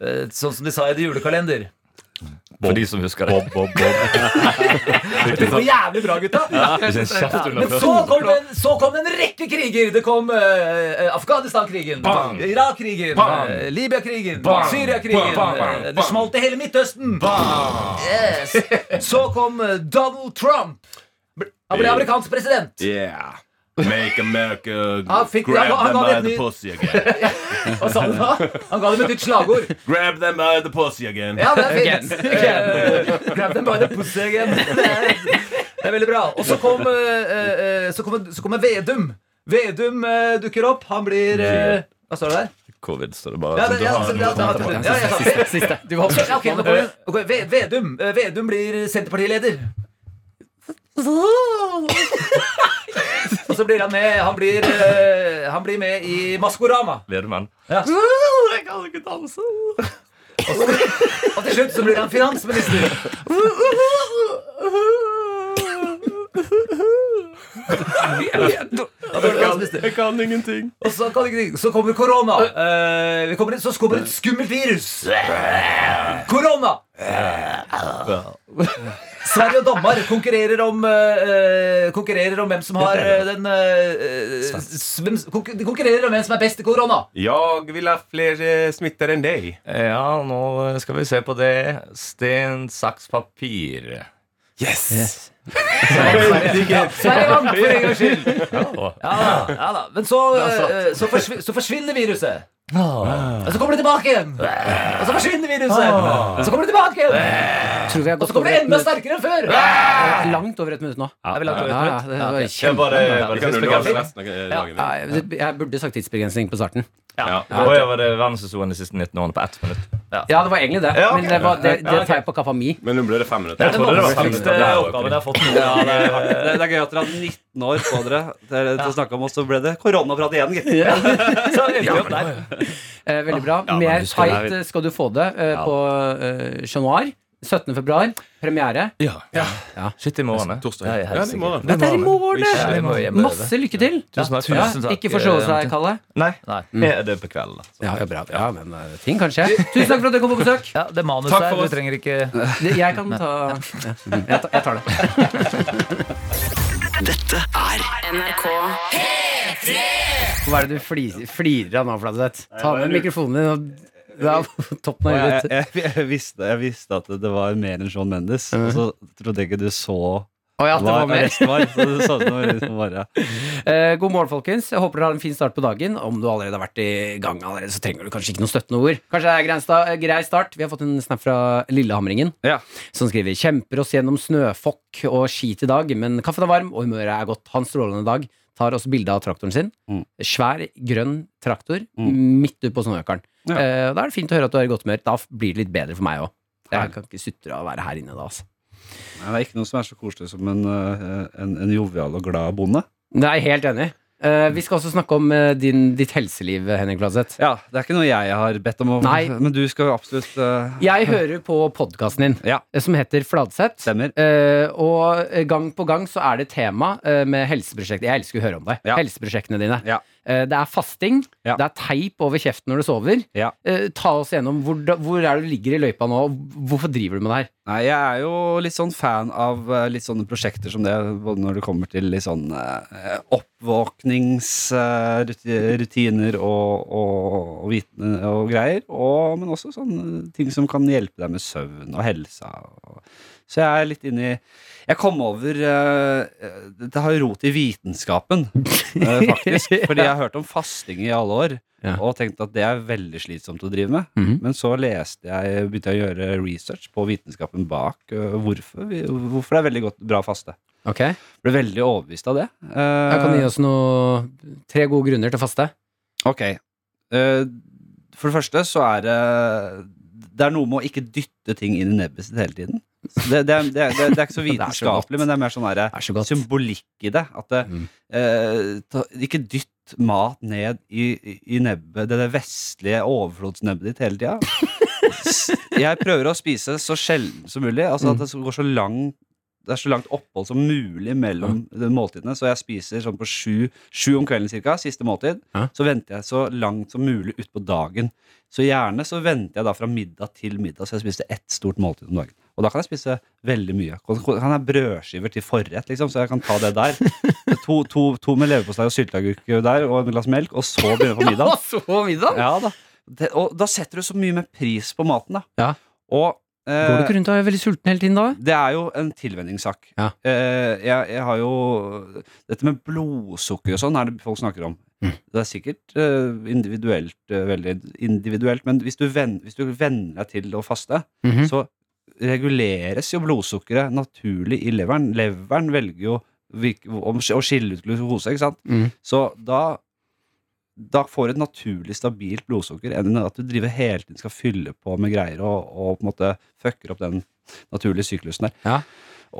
eh, Sånn som de sa i det julekalender.
For de som husker det. Bob, Bob,
Det var jævlig bra, gutta!
Ja, det er en kjeft under
Men så
føttene.
kom, det en, så kom det en rekke kriger. Det kom eh, eh, Afghanistan-krigen,
Bang!
Irak-krigen,
Bang!
eh, Libya-krigen,
Bang!
Syria-krigen.
Bang, bang,
eh, Det smalt i hele Midtøsten. Yes. Så kom eh, Donald Trump. Han ble amerikansk president.
Yeah. Make America
Han fikk-
grab
han- han
them
ga
by
det et
the
ny-
pussy again.
Hva sa du da? Han ga dem et nytt slagord.
grab them by the pussy again.
Ja, det er fint. Eh, Grab them by the pussy again. Det er- det er veldig bra. Og så kom, eh, eh, så kom, så kom Vedum. Vedum eh, dukker opp. Han blir eh, Hva står det der?
Covid, står det bare.
Ja,
Så
det,
du
ja,
har
altså,
en
ja,
kommentar på
ja,
det.
ja, ja, ja.
Siste, siste. Du var
Ok, ok, nå får du- ok, Ve- Vedum eh, Vedum blir Senterpartileder. Og så blir han med Han blir, eh, han blir med i Maskorama.
Vedmenn.
Ja.
Jeg kan ikke danse.
Og til slutt så blir han finansminister.
Jeg kan ingenting.
Og så, kan ikke, så kommer korona. Eh, vi kommer inn, så kommer et skummelt virus. Korona! Sverige og Danmark konkurrerer om eh, Konkurrerer om hvem som har eh, den eh, s- hvem, s- konkur- De konkurrerer om hvem som er best i korona.
Jeg vil ha flere smitter enn deg.
Ja, nå skal vi se på det. Sten, saks, papir.
Yes!
Ja, Sverige vant for en gangs skyld. Ja da, ja da. Men så, eh, så, forsvi, så forsvinner viruset. Og så kommer det tilbake igjen. Og så forsvinner viruset. Og så kommer det tilbake igjen.
Tror vi har
Og så
gått over
kommer det
et
enda
minutt.
sterkere enn før.
Eh, Langt over et minutt nå.
Er vi langt over et
Ja, ja,
minutt?
det
Ja,
var
ok.
kjempe-
Bare, bare
Vi kan underholde
tidsbegrensning.
resten av eh,
Ja.
dagen.
Ja, jeg- Jeg burde sagt tidsbegrensning på starten.
Ja. Og jeg var det verdenshistorien de siste 19 årene på ett minutt.
Ja, det var egentlig det. Men det, var, det, det tar jeg på kappa mi.
Men nå ble det fem
Jeg
minutter.
trodde det var fem minutter.
jeg har fått
Ja, det, er, det, det er gøy at dere hadde 19 år på dere til, til å snakke om, og så ble det koronaprat igjen. gitt.
Så endte vi opp der.
Eh, veldig bra.
Ja, men
Mer
husker det her,
tight eh, skal du få det eh, på eh, januar.
17. februar, premiere.
Ja. Shit, i morgen.
Torsdag.
Ja,
Ja, det er i morgen. Ja, det er i morgen.
Ja, det er i morgen.
Masse lykke til.
Tusen takk.
Ja,
Tusen takk.
Ikke forsove seg, Kalle.
Nei.
Mm.
Ja, Det er på kvelden, da.
Ja, ja, bra, bra, men eh, ting kan skje. Tusen takk for at du kom på besøk.
Ja, det er manus
Takk
her,
for
du
oss.
trenger ikke
Det- Jeg kan ta ja. jeg, tar- jeg tar det. Dette er
NRK P3
Hva er det du fliser, flirer av nå, Fladseth? Ta
bare
med
lurer.
mikrofonen din og det er toppen av
jeg,
huet ditt.
jeg, jeg, jeg, visste, jeg visste at det var mer enn Sean Mendes, og så trodde jeg ikke du så
Å ja, at det
hva
var mer.
resten var. Så det så ut som det var liksom bare
Eh, god morgen, folkens. Jeg Håper dere har en fin start på dagen. Om du allerede har vært i gang, allerede, så trenger du kanskje ikke noe støttende ord. Kanskje det er grei sta- eh, grei start. Vi har fått en snap fra Lillehamringen, som skriver Kjemper oss gjennom snøfokk og skit i dag, men kaffen er varm og humøret er godt. Hans strålende dag tar oss bilde av traktoren sin. Svær, grønn traktor midt ute på snøøkeren. Eh, og da er det fint å høre at du er i godt humør. Da f- blir det litt bedre for meg òg. Jeg kan ikke sutre av å være her inne da, altså.
Nei, Det er ikke noe som er så koselig som en, eh, en, en jovial og glad bonde.
Nei, helt enig. Eh, vi skal også snakke om eh, din, ditt helseliv, Henrik Fladseth.
Ja, det er ikke noe jeg har bedt om å
Nei.
Men du skal jo absolutt eh,
Jeg hører på podkasten din, eh, som heter Fladseth. Eh, og gang på gang så er det tema eh, med helseprosjekter. Jeg elsker å høre om deg. Helseprosjektene dine. Eh, det er fasting. Det er teip over kjeften når du sover. Eh, ta oss gjennom. Hvor, da- hvor er det du ligger i løypa nå? og Hvorfor driver du med det her?
Nei, jeg er jo litt sånn fan av eh, litt sånne prosjekter som det, både når det kommer til litt sånn oppvåkningsrutiner og, og, og vitne og greier, og, men også sånne ting som kan hjelpe deg med søvn og helsa. Og, så jeg er litt inni Jeg kom over eh, Det har rot i vitenskapen, eh, faktisk, fordi jeg har hørt om fasting i alle år. Og tenkte at det er veldig slitsomt å drive med. Men så leste jeg, begynte jeg å gjøre research på vitenskapen bak øh, hvorfor, vi, hvorfor det er veldig godt, bra å faste.
Ok.
Ble veldig overbevist av det. Eh,
Jeg Eh, kan gi oss noe, tre gode grunner til å faste.
Ok. Eh, for det første så er det Det er noe med å ikke dytte ting inn i nebbet sitt hele tiden. Så Det, det, er- det, er- det, er- det er ikke så
Det er så
vitenskapelig, men det er mer sånn derre symbolikk i det. At det, eh, ta, ikke dytt mat ned i, i- i nebbet, det, det vestlige overflodsnebbet ditt hele tida. S- Jeg prøver å spise så sjelden som mulig. Altså at det så- går så lang det er så langt opphold som mulig mellom de måltidene. Så jeg spiser sånn på sju, sju om kvelden cirka, siste måltid. Så venter jeg så langt som mulig utpå dagen. Så gjerne så venter jeg da fra middag til middag, så jeg spiste ett stort måltid om dagen. Og da kan jeg spise veldig mye. Kan kan jeg brødskiver til forrett, liksom, så jeg kan ta det der. To, to, to med leverpostei og sylteagurk der, og en glass melk, og så begynne på middag.
Og så middag?
Ja, da. Det, og da setter du så mye mer pris på maten, da.
Ja.
Og eh,
Går du ikke rundt og er veldig sulten hele tiden da?
det er jo en tilvenningssak. Eh, jeg, jeg har jo Dette med blodsukker og sånn er det folk snakker om.
Mm.
Det er sikkert eh, individuelt, eh, veldig individuelt, men hvis du, ven, hvis du venner deg til å faste,
Mhm.
så reguleres jo blodsukkeret naturlig i leveren. Leveren velger jo virk- om- å skille ut glukose, ikke sant?
Mm.
Så da da får du et naturlig stabilt blodsukker enn at du driver hele tiden skal fylle på med greier og, og på en måte fucker opp den naturlige syklusen der.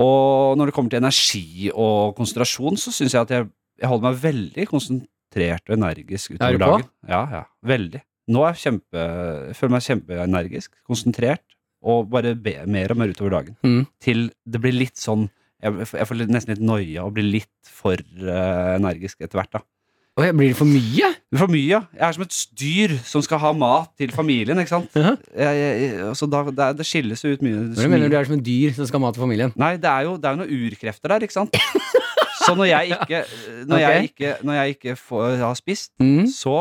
Og når det kommer til energi og konsentrasjon, så syns jeg at jeg, jeg holder meg veldig konsentrert og energisk
Er
utover
du på?
dagen. Ja, ja, veldig. Nå er jeg kjempe, jeg føler meg kjempeenergisk, konsentrert, og bare be, mer og mer utover dagen.
Mm.
Til det blir litt sånn Jeg, jeg får nesten litt noia og blir litt for eh, energisk etter hvert, da.
Oi, blir det for mye?
For mye, ja. Jeg er som et dyr som skal ha mat til familien, ikke sant?
Uh-huh.
jeg, jeg, jeg- så da, det, er- det skilles jo ut mye.
Hva mener du er som et dyr som skal ha mat til familien?
Nei, det er jo, det er jo noen urkrefter der, ikke sant? Så når jeg ikke, når jeg ikke, når jeg ikke får, har spist,
Mm.
så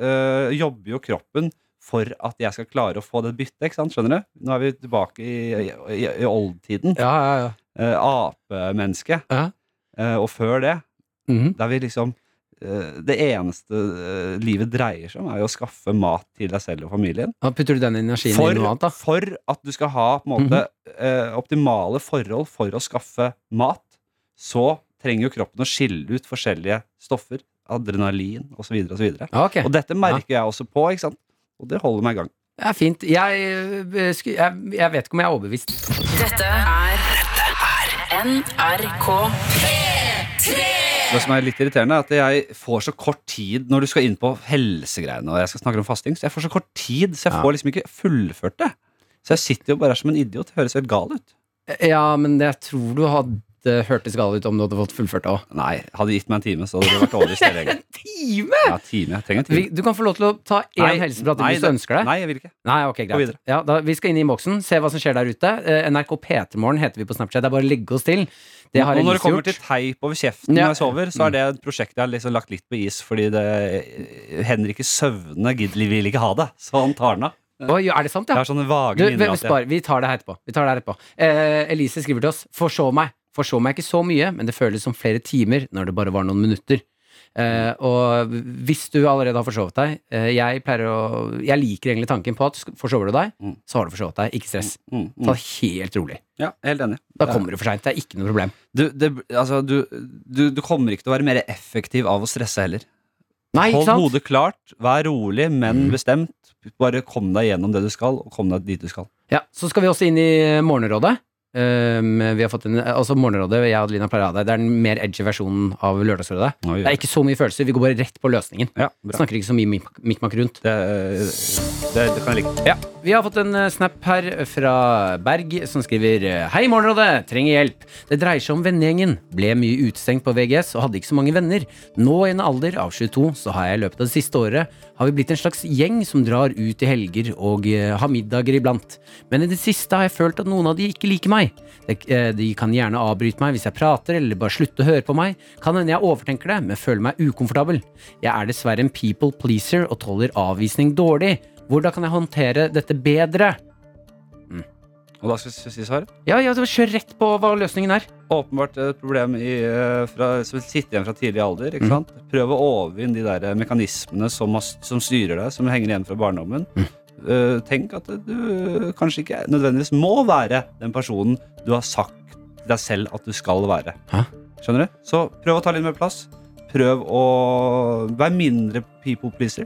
øh, jobber jo kroppen for at jeg skal klare å få det byttet, ikke sant? Skjønner du? Nå er vi tilbake i, i, i, i oldtiden.
Ja, ja, ja.
Eh, apemenneske. Eh, og før det, der vi liksom eh, Det eneste eh, livet dreier seg om, er jo å skaffe mat til deg selv og familien.
Da putter du den energien
For,
i noe annet, da.
for at du skal ha på en måte eh, optimale forhold for å skaffe mat, så trenger jo kroppen å skille ut forskjellige stoffer. Adrenalin osv. Og, så videre, og, så videre. og dette merker jeg også på, ikke sant? og det holder meg i gang.
Det er fint. Jeg, eh, sku- jeg, jeg vet ikke om jeg er overbevist.
Dette er Dette er NRK P3
Det som er litt irriterende, er at jeg får så kort tid når du skal inn på helsegreiene, og jeg skal snakke om fasting, så jeg får så kort tid, så jeg får liksom ikke fullført det. Så jeg sitter jo bare her som en idiot. Høres helt gal ut.
Ja, men jeg tror du hadde hørtes gal ut om du hadde fått fullført òg.
Nei, hadde gitt meg en time, så hadde det vært over i stedet. egentlig.
Time!
Ja, time. Jeg trenger en
Vi-
time.
Du kan få lov til å ta
Nei,
én helseprat
nei,
hvis du
det-
ønsker det.
nei, jeg vil ikke.
Nei, ok,
Gå
greit
videre.
ja, da, Vi skal inn i innboksen, se hva som skjer der ute. Eh, NRK P3morgen heter vi på Snapchat. Det er bare å legge oss til. Det har
og når
Elise
det kommer
gjort.
til teip over kjeften
Ja.
når jeg sover, så er det et prosjekt jeg har liksom lagt litt på is, fordi det eh, Henrik i søvne gidder vil ikke ha det, så han tar den av.
Oi, ja, er det sant, ja?
Jeg har sånne vage
Du,
minner
vi,
at jeg-
spar, vi tar det her etterpå. Vi tar det her etterpå. Eh, Elise skriver til oss Forså meg. Forså meg ikke så mye, men det føles som flere timer når det bare var noen minutter. Eh,
Mm.
og hvis du allerede har forsovet deg eh, jeg, pleier å, jeg liker egentlig tanken på at sk- forsover du deg,
Mm.
så har du forsovet deg. Ikke stress. Ta det helt rolig.
Ja, jeg er helt enig.
Da kommer du for seint. Det er ikke noe problem.
Du, det, altså, du, du, du kommer ikke til å være mer effektiv av å stresse heller.
Nei, ikke
Hold
sant?
hodet klart, vær rolig, men bestemt. Bare kom deg gjennom det du skal, og kom deg dit du skal.
Ja, Så skal vi også inn i Morgenrådet. Um, vi har fått en, altså Morgenrådet jeg og Adelina pleier å ha det. Det er den mer edgy versjonen av Lørdagsrådet.
Oi, oi.
Det er ikke så mye følelser. Vi går bare rett på løsningen.
bra.
Snakker ikke så mye mik- mikk-makk rundt.
Det, eh, kan jeg like.
Ja. Vi har fått en eh, snap her fra Berg, som skriver eh, Hei, Morgenrådet. Trenger hjelp. Det dreier seg om vennegjengen. Ble mye utestengt på VGS og hadde ikke så mange venner. Nå i en alder av 22 så har jeg i løpet av det siste året har vi blitt en slags gjeng som drar ut i helger og eh, har middager iblant. Men i det siste har jeg følt at noen av de ikke liker meg. De, eh, de kan gjerne avbryte meg hvis jeg prater, eller bare slutte å høre på meg. Kan hende jeg overtenker det, men føler meg ukomfortabel. Jeg er dessverre en people pleaser og tåler avvisning dårlig. Hvordan kan jeg håndtere dette bedre?
Og da skal jeg si svaret?
Ja, ja, kjør rett på hva løsningen er.
Åpenbart et problem i, eh, fra, som sitter igjen fra tidlig alder. Ikke sant? Prøv å overvinne de der eh, mekanismene som, har- som styrer deg, som henger igjen fra barndommen. Eh, tenk at du kanskje ikke nødvendigvis må være den personen du har sagt deg selv at du skal være. Skjønner du? Så prøv å ta litt mer plass. Prøv å være mindre people pleaser.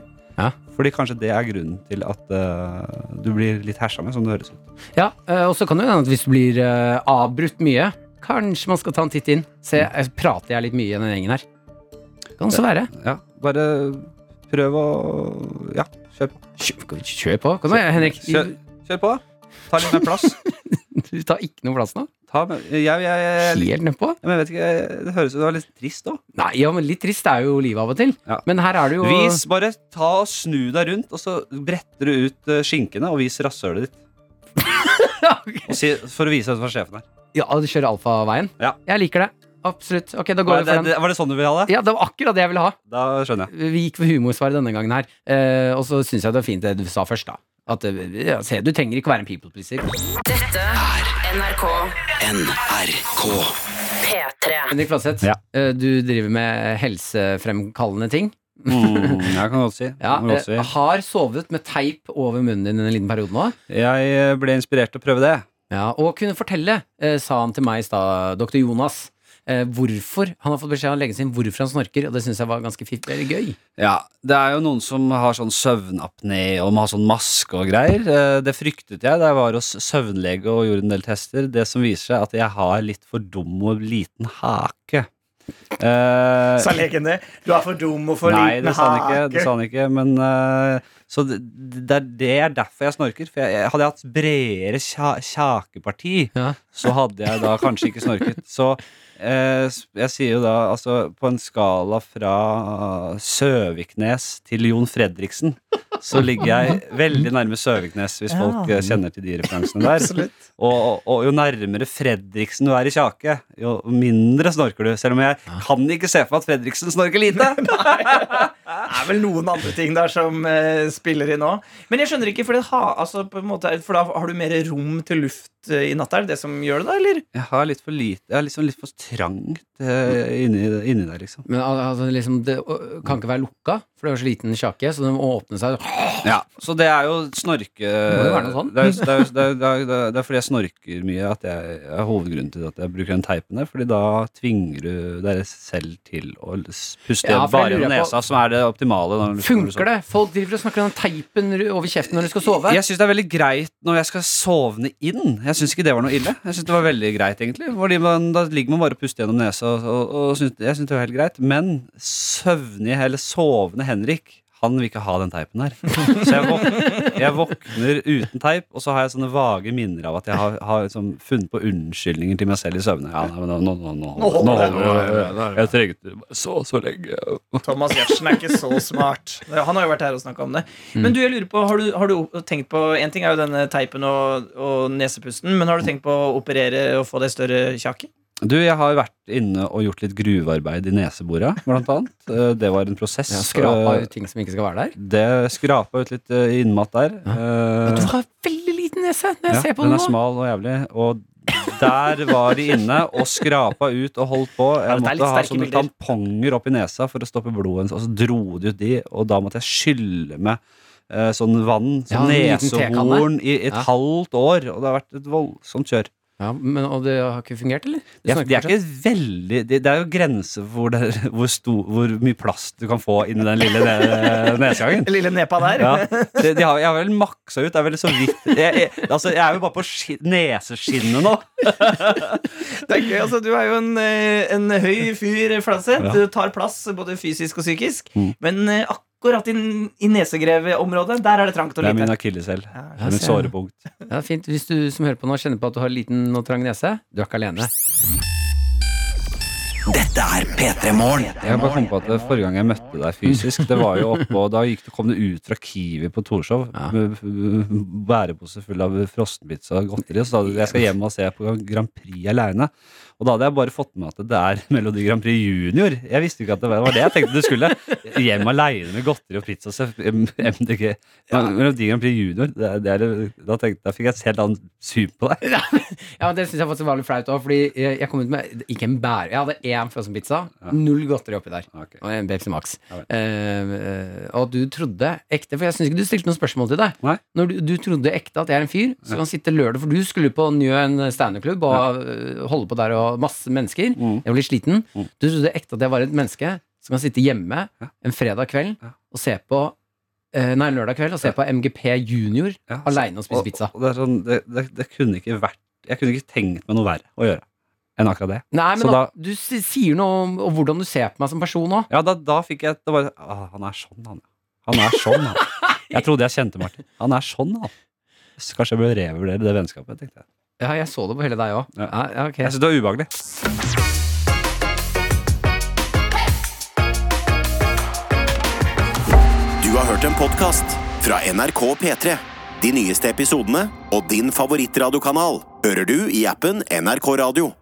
Fordi kanskje det er grunnen til at eh, du blir litt hersa med, som det høres ut.
Ja, eh, og så kan det jo hende at hvis du blir eh, avbrutt mye, kanskje man skal ta en titt inn. Se, eh, prater jeg litt mye i den gjengen her? Kan så være.
Ja, bare prøv å Ja, kjør på.
Kjør, på. Kom igjen, Henrik.
Kjør, kjør på, da. Ta litt mer plass.
Du tar ikke noe plass nå?
Ta med, jeg, jeg, jeg,
Helt nedpå?
Ja, men jeg vet ikke, jeg- det høres ut som det var litt trist òg.
Nei, ja, men litt trist er jo livet av og til. Men her er det jo
Vis, bare ta og snu deg rundt, og så bretter du ut eh, skinkene og vis rasshølet ditt. og si, for å vise hva sjefen er.
Ja, du kjører alfaveien? Jeg liker det. Absolutt. Ok, da
Var
går vi
det,
for
det,
den.
var det sånn du ville ha det?
Ja, det var akkurat det jeg ville ha.
Da skjønner jeg.
Vi gikk for humorsvar denne gangen her. Eh, og så syns jeg det var fint det du sa først, da. At eh, ja, se, du trenger ikke være en people pleaser.
Dette er NRK
NRK
P3.
Henrik Fladseth, eh, du driver med helsefremkallende ting.
Mm, jeg kan godt si.
Ja,
Kan godt si.
eh, har sovet med teip over munnen din en liten periode nå.
Jeg ble inspirert til å prøve det.
Ja, og kunne fortelle, eh, sa han til meg i stad, doktor Jonas, eh, hvorfor han har fått beskjed av legen sin hvorfor han snorker, og det syns jeg var ganske fiff, eller gøy.
Ja, det er jo noen som har sånn søvnapné og må ha sånn maske og greier. Eh, Det fryktet jeg da jeg var hos søvnlege og gjorde en del tester. Det som viser seg at jeg har litt for dum og liten hake. Eh,
Sa legen det? Du er for dum og for
Nei,
liten
det sa han ikke.
hake.
Det sa han ikke men, eh, så det, det, er, det er derfor jeg snorker. For jeg, jeg hadde jeg hatt bredere kja, kjakeparti, så hadde jeg da kanskje ikke snorket. Så eh, s- jeg sier jo da altså på en skala fra Søviknes til Jon Fredriksen, så ligger jeg veldig nærme Søviknes, hvis folk
Ja.
eh, kjenner til de referansene der. og, og, og jo nærmere Fredriksen du er i kjake, jo mindre snorker du. Selv om jeg kan ikke se for meg at Fredriksen snorker lite.
Det er vel noen andre ting der som eh, spiller inn òg. Men jeg skjønner ikke, for, det ha, altså, på en måte, er- for da har du mer rom til luft eh, i natta? Er det det som gjør det, da, eller?
Jeg har litt for lite Jeg er liksom litt for trangt eh, inni, inni der, liksom.
Men al- altså, liksom, det øh, kan ikke være lukka, for det er jo så liten kjake, så den må åpne seg.
Ja, Så det er jo snorke
Må jo være noe sånn.
det, er, det, er, det, er, det, er, det er fordi jeg snorker mye at jeg er hovedgrunnen til at jeg bruker den teipen der. Fordi da tvinger du dere selv til å l- s- puste
Ja, for jeg
bare
lurer
gjennom
på-
nesa, som er det optimale. når du- sånn. når du
Funker
sover.
det? Folk driver og snakker om den teipen ru- over kjeften når de skal sove.
Jeg syns det er veldig greit når jeg skal sovne inn. Jeg syns ikke det var noe ille. Jeg synes det var veldig greit egentlig Fordi man, Da ligger man bare og puster gjennom nesa, og, og, og synes, jeg syns det var helt greit. Men søvnige eller sovende Henrik han vil ikke ha den teipen her. Så jeg, våk jeg våkner uten teip, og så har jeg sånne vage minner av at jeg har, har liksom funnet på unnskyldninger til meg selv i søvne. Ja, nei, men nå, nå, nå, nå, nå, nå, nå, jeg trengte det så så lenge.
Thomas Giertsen er ikke så smart. Han har jo vært her og snakka om det. Men du, jeg lurer på, har du, har du tenkt på En ting er jo denne teipen og, og nesepusten, men har du tenkt på å operere og få deg større kjaker?
Du, jeg har vært inne og gjort litt gruvearbeid i nesebora, blant annet. Eh, Det var en prosess.
Ja, skrapa
Eh,
ut ting som ikke skal være der.
Det skrapa ut litt eh, innmat der. Eh,
Du har veldig liten nese når jeg
ja,
ser på
den
den
er
nå.
smal og jævlig. Og der var de inne og skrapa ut og holdt på.
Ja,
Jeg
dette er litt
måtte ha
sterke
sånne
bilder.
tamponger oppi nesa for å stoppe blodet. Og så dro de ut de, og da måtte jeg skylle med eh, sånn vann,
Ja, en
sånn
liten
nesehorn,
tekanne.
i et
Ja.
halvt år. Og det har vært et voldsomt kjør.
Ja, men, og det har ikke fungert, eller? Du
Det er,
snakker
det er
fortsatt.
ikke veldig Det, det er jo grenser for hvor, det, hvor, stor, hvor mye plast du kan få inni den lille ne nesgangen.
Lille nepa der.
Ja. Det, de har, jeg har vel maksa ut. Det er vel så vidt Jeg, jeg, altså, jeg er jo bare på ski- neseskinnet nå.
Det er gøy, altså Du er jo en, eh, en høy fyr, Fladseth.
Ja.
Du tar plass både fysisk og psykisk.
Mm.
Men eh, akkurat i, i nesegreveområdet, der er det trangt og
Det er min
lite.
akilleshæl. Det
Ja,
er mitt
ser jeg.
sårepunkt.
Ja, fint. Hvis du som hører på nå kjenner på at du har liten og trang nese, du er ikke alene.
Dette er P3 Morgen.
Jeg bare kom på at det Forrige gang jeg møtte deg fysisk, Det var jo oppå da gikk, du- kom du ut fra Kiwi på Torshov med med bærepose full av frossenpizza og godteri. Og så sa du jeg skal hjem og se på Grand Prix aleine. Og da hadde jeg bare fått med at det er Melodi Grand Prix Junior. Jeg visste ikke at det var det var det jeg tenkte du skulle. Hjem aleine med godteri og pizza. Så M- MDG. Men Melodi Grand Prix Junior, det er, det er, da, tenkte, da fikk jeg et helt annet syn på deg.
Ja, men Det syns jeg faktisk var litt flaut òg, fordi jeg, jeg kom ut med ikke en bære. Jeg hadde én frossenpizza, null godteri oppi der, og en Pepsi Max. Eh, eh, og du trodde ekte, for jeg syns ikke du stilte noe spørsmål til deg. Når du, du trodde ekte at jeg er en fyr som kan sitte lørdag, for du skulle på Njøen standup-klubb og eh, holde på der og masse mennesker.
Mm.
Jeg var litt sliten. Du trodde ekte at jeg var et menneske som kan sitte hjemme en fredag kveld og se på eh, Nei, en lørdag kveld og se på MGP Junior alene aleine og spise pizza.
Og det, er sånn, det, det, det kunne ikke vært Jeg kunne ikke tenkt meg noe verre å gjøre enn akkurat det.
Nei, men
Så da,
at du s- sier noe om, om hvordan du ser på meg som person òg.
ja, da, da fikk jeg det bare, ah, Han er sånn, han. Han er sånn, han. Jeg trodde jeg kjente Martin. Han er sånn, han. Så kanskje jeg bør revurdere det vennskapet, tenkte jeg.
Ja, jeg så det på hele deg òg. Ja. Ja, ok.
Jeg synes det var ubehagelig.
Du har hørt en podcast fra NRK P3. De nyeste episodene og din favorittradiokanal hører du i appen NRK Radio.